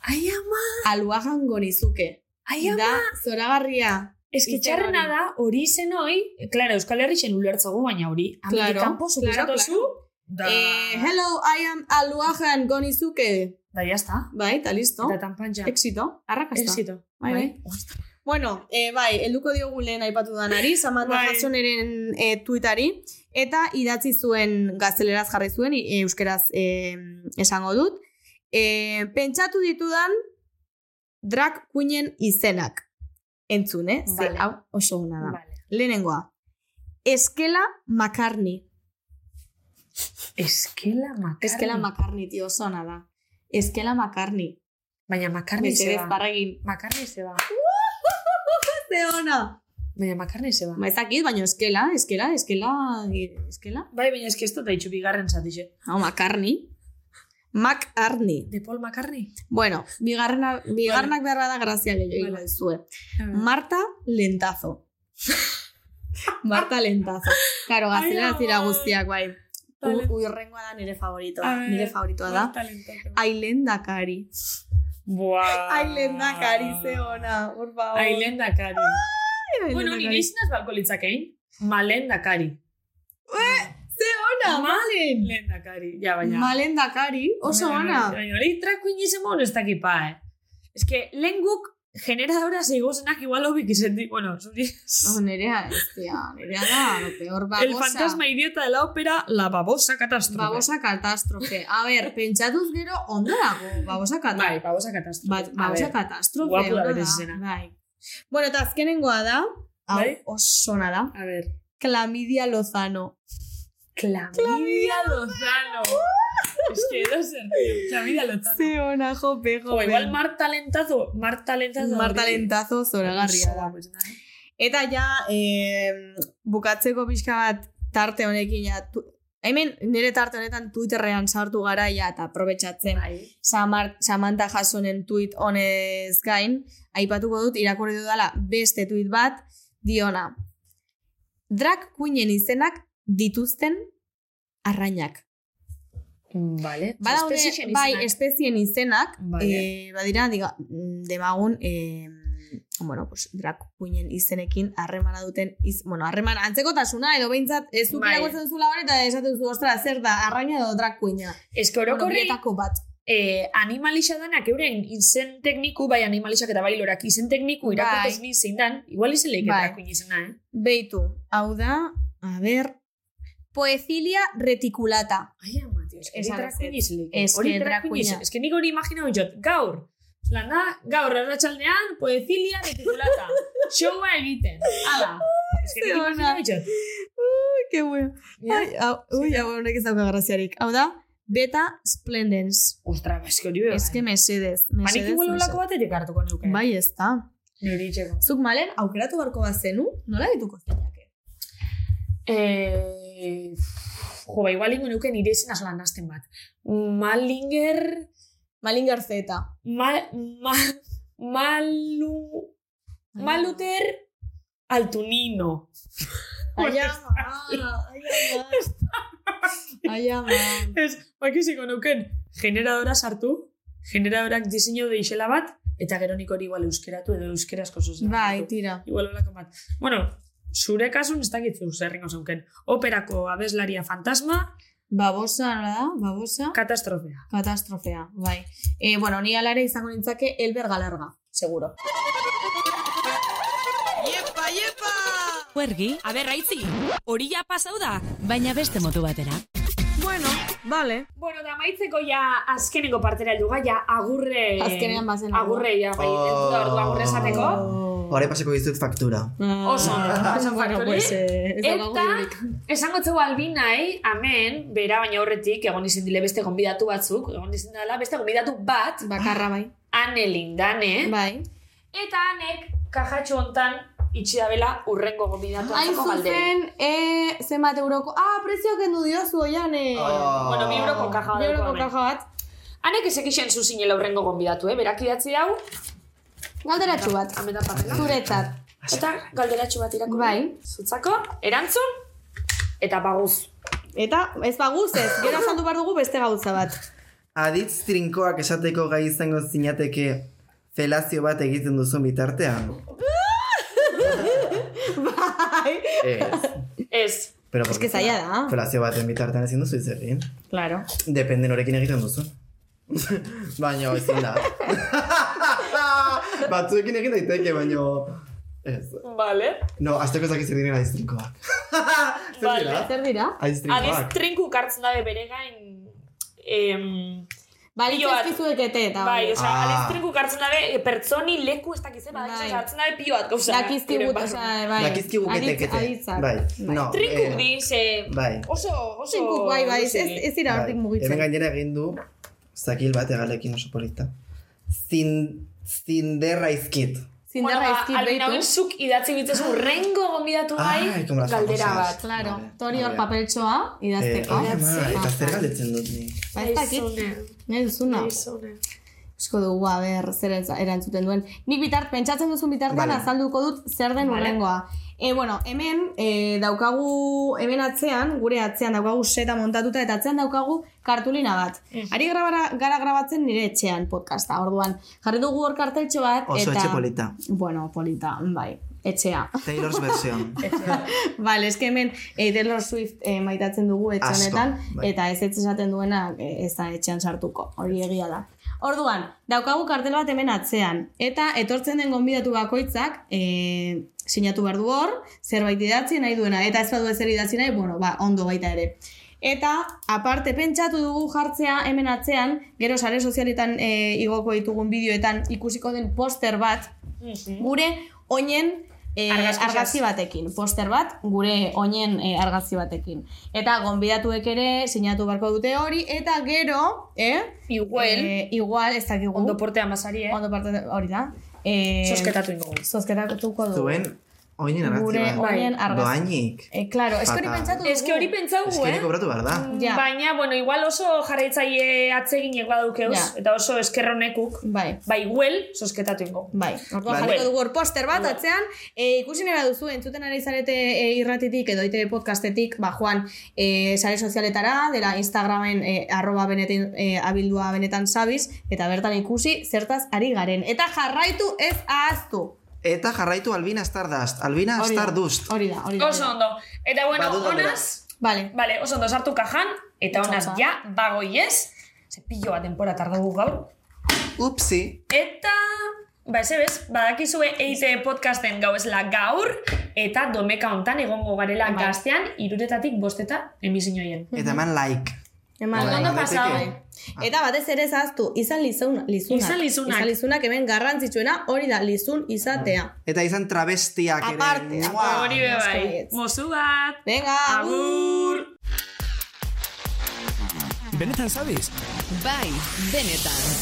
G: Ai ama,
F: Aluajan gonizuke.
G: ai ama.
F: Da, zoragarria,
G: Eski
F: Izen
G: txarrena
F: hori.
G: da, hori izen hoi, klaro, Euskal Herri zen ulertzogu, baina hori,
F: Claro,
G: claro, kanpo
F: claro,
G: suposatu zu, da,
F: Eh, hello, I am Aluajan Gonizuke.
G: da jazta,
F: Bai, eta listo.
G: eta tanpantxa.
F: Éxito. Arrakasta.
G: Exito.
F: Bai, bai. Bueno, eh, bai, helduko diogu lehen aipatu
G: (laughs)
F: danari, Samantha
G: Bai.
F: Hudsoneren eh, tuitari, eta idatzi zuen gazteleraz jarri zuen, i- euskeraz eh, esango dut. Eh, pentsatu ditudan drag queenen izenak. Entzun, eh? Ze,
G: Vale.
F: hau oso ona da.
G: Vale.
F: Lehenengoa. Eskela Makarni.
G: Eskela makarni.
F: Eskela makarni, tio, zona da. Eskela makarni.
G: Baina makarni
F: Mesedez,
G: zeba.
F: barregin.
G: Makarni zeba.
F: Ze ona!
G: Baina makarni zeba.
F: Ba, ez dakit, baina eskela, eskela, eskela, eskela.
G: Bai, baina eski ez dut daitxu bigarren zatixe.
F: Hau, makarni. Makarni.
G: De Paul makarni?
F: Bueno, bigarrena, bigarrenak behar bada grazia gehiago
G: Vale. Mm.
F: vale. dizue. Marta Lentazo. (laughs) Marta Lentazo. Karo, gaztela
G: ama.
F: dira guztiak, bai. U,
G: Vale.
F: uirrengoa da nire favoritoa.
G: A ver,
F: Nire favoritoa da. Ailendakari.
G: Buah.
F: Ailendakari, ze ona, por favor.
G: Ailendakari.
F: Ai,
G: Bueno,
F: lehendakari.
G: nire izinaz balko litzakein. Malendakari.
F: Ze ona, malen!
G: Malendakari. Ja, baina.
F: Malendakari, oso ona.
G: Baina, Baina hori trakuin izan ez dakipa, eh? Ez que, lehen guk generadora zeigozenak igual hobik izendi, bueno, zuri.
F: Oh, nerea, estia, nerea da, lo peor babosa.
G: (laughs) El fantasma idiota de la ópera, la babosa catástrofe.
F: Babosa katastrofe. A ber, pentsatuz gero, ondo dago, babosa
G: Bai,
F: katastrofe.
G: babosa katastrofe.
F: Bat,
G: A
F: babosa
G: ver,
F: katastrofe,
G: guapo da
F: ondo
G: bere izena.
F: Bai. Bueno, eta azkenengoa da, hau
G: Bai.
F: oso ona da,
G: A ver.
F: Clamidia Lozano.
G: Clamidia Lozano. Es que edo zer, tío. Clamidia Lozano.
F: Ze ona, jope,
G: O
F: jope.
G: igual Marta Lentazo. Marta Lentazo.
F: Marta Lentazo zoragarria da.
G: Pues, nah, eh.
F: Eta ja, eh, bukatzeko pixka bat tarte honekin ja, tu, hemen nire tarte honetan Twitterrean sartu gara ja, eta aprobetsatzen
G: Bai.
F: Samar, Samantha Jasonen tweet honez gain, aipatuko dut irakurri dudala beste tweet bat diona. Drag queenen izenak dituzten arrainak.
G: Vale. pues este
F: Badaude,
G: Espezien
F: bai,
G: izenak.
F: espezien izenak,
G: Vale.
F: eh, badira, diga, mm, demagun, eh, bueno, pues, drag queenen izenekin harremana duten, iz, bueno, harreman antzekotasuna, edo behintzat, ez zuk
G: Bai.
F: irakurtzen zula hori, eta esaten zu, ostra, zer da, arraina edo drag queena.
G: Es que
F: Bueno,
G: orokorri
F: bietako bat.
G: eh, animalixa danak euren izen tekniku, bai animalixak eta bai lorak izen tekniku irakurtez bai. zein dan, igual izen lehik
F: Bai.
G: bai. izena, eh?
F: Beitu, hau da, a ber, poecilia reticulata.
G: Ai, ama, tio, eske
F: Esan
G: drakuin
F: bezet.
G: izen lehik.
F: Eske
G: Hori
F: drakuina.
G: drakuin izen. Eske nik hori imaginau jot, gaur, lan da, gaur arratsaldean poezilia
F: (laughs)
G: retikulata, showa egiten, ala. Eske nik
F: Ze ona.
G: imaginau jot.
F: Ke bueno. Ai, hau, ui, hau honek ez dauka graziarik. Hau da, beta splendens.
G: Ostra, ba, eske hori beba.
F: Ez que mesedez, mesedez.
G: Banik igual olako
F: mesedez.
G: batetik hartuko neuke.
F: Bai, ez da.
G: Niri txeko.
F: Zuk malen, aukeratu barko bat zenu, nola dituko zeinake?
G: Eh, jo, ba, igual ingo neuke nire izen asolan nazten bat. Malinger,
F: Malin garzeta.
G: mal, mal, malu, maluter altunino.
F: Ai, ama, ai, ama. Ai, ama.
G: Ez, bakiziko neuken generadora sartu, generadorak diseinu deixela bat, eta gero nik hori igual euskeratu edo euskarazko zuzen.
F: Bai, tira.
G: Igual olako bat. Bueno, zure kasun ez dakitzu zerringo zeuken. Operako abeslaria fantasma,
F: Babosa, nola da? Babosa.
G: katastrofea.
F: Katastrofea, bai. E, bueno, ni alare izango nintzake Elber Galarga, seguro.
E: Huergi,
B: Aber, raitzi, hori ja pasau da.
E: baina beste motu batera.
J: Bueno, vale.
G: Bueno, da maitzeko ja azkenengo partera helduga, ja agurre...
F: Azkenean bazen. Oh.
G: Agurre, ja, bai,
H: Oh.
G: entzun da ordu agurre esateko.
H: Hore pasako dizut faktura.
G: Oso, oso
F: Ah, bueno,
G: faktore.
F: pues, eh, ez
G: Eta-
F: daukagu dirik.
G: Esango txegu albinai, amen, bera baina horretik, egon izin dile beste gonbidatu batzuk, egon izin dela beste gonbidatu bat,
F: Bakarra bai.
G: ane lindane,
F: Bai.
G: eta anek kajatxo hontan itxi dabela urrengo gonbidatu
F: Hain
G: atzeko galderi.
F: zuzen, e, zenbat euroko... Ah, prezio kendu diozu, oiane!
H: Oh.
G: Bueno, bi euroko kaja
F: Bi euroko
G: dauka honek.
F: kaja bat.
G: Anek ezek isen zuzinela urrengo gonbidatu, eh? berak idatzi dau,
F: Galderatxu bat.
G: amena papela.
F: Zuretzat.
G: Eta galderatxo bat irako.
F: Bai.
G: Zutzako, erantzun, eta paguz.
F: Eta ez baguz ez, gero azaldu behar dugu beste gauza bat.
H: Aditz trinkoak esateko gai izango zinateke felazio bat egiten duzun bitartean.
F: (laughs) Bai.
H: Ez.
G: Ez,
H: Pero
F: Ez
H: porque
F: que zaila da.
H: Felazio baten bitartean ezin duzu hitz egin.
F: Claro.
H: Dependen horrekin egiten duzu. (laughs) baina ezin da. (laughs) Batzuekin egin daiteke, baina... Ez.
G: bale.
H: No, azteko ezak izan diren aiztrinkoak. (laughs) Zer
F: Bai,
G: Vale.
H: dira?
F: Zer dira?
G: Adiz
H: Aiztrinkoak.
G: trinku hartzen dabe bere gain... Em,
F: Balitza
G: Pilo bat.
F: ezkizuek ete Bai, eta
G: bai, osea,
H: Ah.
G: adiz trinku hartzen dabe eh, pertsoni leku ez dakize, bada,
F: Bai.
G: bai. hartzen dabe pio bat gauza. ba.
F: Dakizkigut, osea, bai.
H: Dakizki guketek.
F: Aditz- aditzak.
H: Bai. No,
G: Trinku
H: eh,
G: di, ze...
H: Bai.
G: Oso, oso...
F: Zinkuk, bai,
G: Oh,
F: bai, ez, ez- ez dira
H: Bai.
F: hortik
H: Hemen
F: mugitzen.
H: gainera egin du, zakil bat egalekin oso polita. Zin, zinderra izkit.
F: Zindarra
G: ba,
F: izkit Ah.
G: Albina
F: beitu.
G: zuk idatzi bitzezu rengo gonbidatu
H: Ai,
G: bai
H: como las
G: galdera
H: famosas.
G: bat.
F: Claro,
H: Vale,
F: tori hor
H: vale.
F: papeltxoa
H: Eh, bai.
F: idazteko.
H: ai, ama, eta zer
F: Ba,
H: galdetzen dut ni.
F: Ba, ez dakit, nahi duzuna.
H: Bai.
F: Esko dugu, a ber, zer ez- erantzuten duen. Nik bitart, pentsatzen duzun bitartean
H: Vale.
F: azalduko dut zer den urrengoa. E, bueno, hemen e, daukagu, hemen atzean, gure atzean daukagu seta montatuta eta atzean daukagu kartulina bat. Ari grabara, gara grabatzen nire etxean podcasta, orduan. Jarri dugu hor karteltxo bat.
A: Oso
F: eta,
A: etxe polita.
F: Bueno, polita, bai, etxea.
A: Taylor's
F: (laughs)
A: version.
F: Vale, eske hemen eh, Taylor Swift eh, maitatzen dugu etxe
H: Asko,
F: honetan
H: bai.
F: eta ez etxe esaten duena eh, ez da etxean sartuko. Hori egia da. Orduan, daukagu kartel bat hemen atzean eta etortzen den gonbidatu bakoitzak eh, sinatu behar du hor, zerbait idatzi nahi duena eta ez badu ezer idatzi nahi, bueno, ba, ondo baita ere. Eta aparte pentsatu dugu jartzea hemen atzean, gero sare sozialetan eh, igoko ditugun bideoetan ikusiko den poster bat gure oinen eh,
G: Argazki
F: argazki batekin, poster bat gure oinen eh, argazki batekin. Eta gonbidatuek ere sinatu beharko dute hori eta gero, eh?
G: Igual,
F: eh, igual ez dakigu.
G: ondo portean bazari, eh?
F: Ondo parte hori da. Eh,
G: Sosketatu ingo guz.
F: Zozketatuko dugu.
H: Zuen, oinen
F: gure
H: argazki bat.
F: oinen argazki.
H: Doainik.
F: Eh, claro, eske hori
H: Fatal.
F: pentsatu dugu.
G: Bai. Ez que hori pentsau gu,
H: Eskeni
G: eh?
H: kobratu behar da.
F: Ja.
G: Baina, bueno, igual oso jarraitzaile atzeginek badukeuz,
F: Ja.
G: eta oso eskerronekuk,
F: Bai.
G: bai, guel, sosketatu ingo.
F: Bai, orduan
H: Bai.
F: jarriko dugu hor poster bat atzean, e, ikusi nera duzu, entzuten ari zarete e, irratitik edo ite podcastetik, ba, joan, e, sare sozialetara, dela Instagramen e, arroba beneten, e, abildua benetan sabiz, eta bertan ikusi zertaz ari garen. Eta jarraitu ez ahaztu.
H: Eta jarraitu Albina Stardust. Albina
F: Hori da,
H: Stardust.
F: Hori da, hori da.
G: Oso ondo. Eta, bueno,
H: Badugu galdera.
G: onaz,
F: Vale,
G: vale, oso ondo sartu kajan, eta onaz,
F: Txotxa.
G: ja, bagoiez, ze pilo bat denpora tardugu gaur.
H: Upsi.
G: Eta, ba, ez ebez, badakizue EIT podcasten gauzela gaur, eta domeka hontan egongo garela
F: Bai.
G: gaztean, iruretatik bosteta emizinioien.
H: Eta
F: Mhm.
H: eman like.
F: eman. Ah.
H: Bai,
G: Ondo
H: daiteke.
G: pasau.
F: Eta batez ere ez ahaztu, izan lizun, lizunak.
G: Izan lizunak.
F: Izan lizunak hemen garrantzitsuena, hori da, lizun izatea.
H: Eta izan travestiak ere.
F: Aparte,
H: Mua.
G: Hori be bai.
F: baietz.
G: Mozu bat!
F: Venga,
G: Agur!
C: Benetan zabiz?
E: Bai, benetan.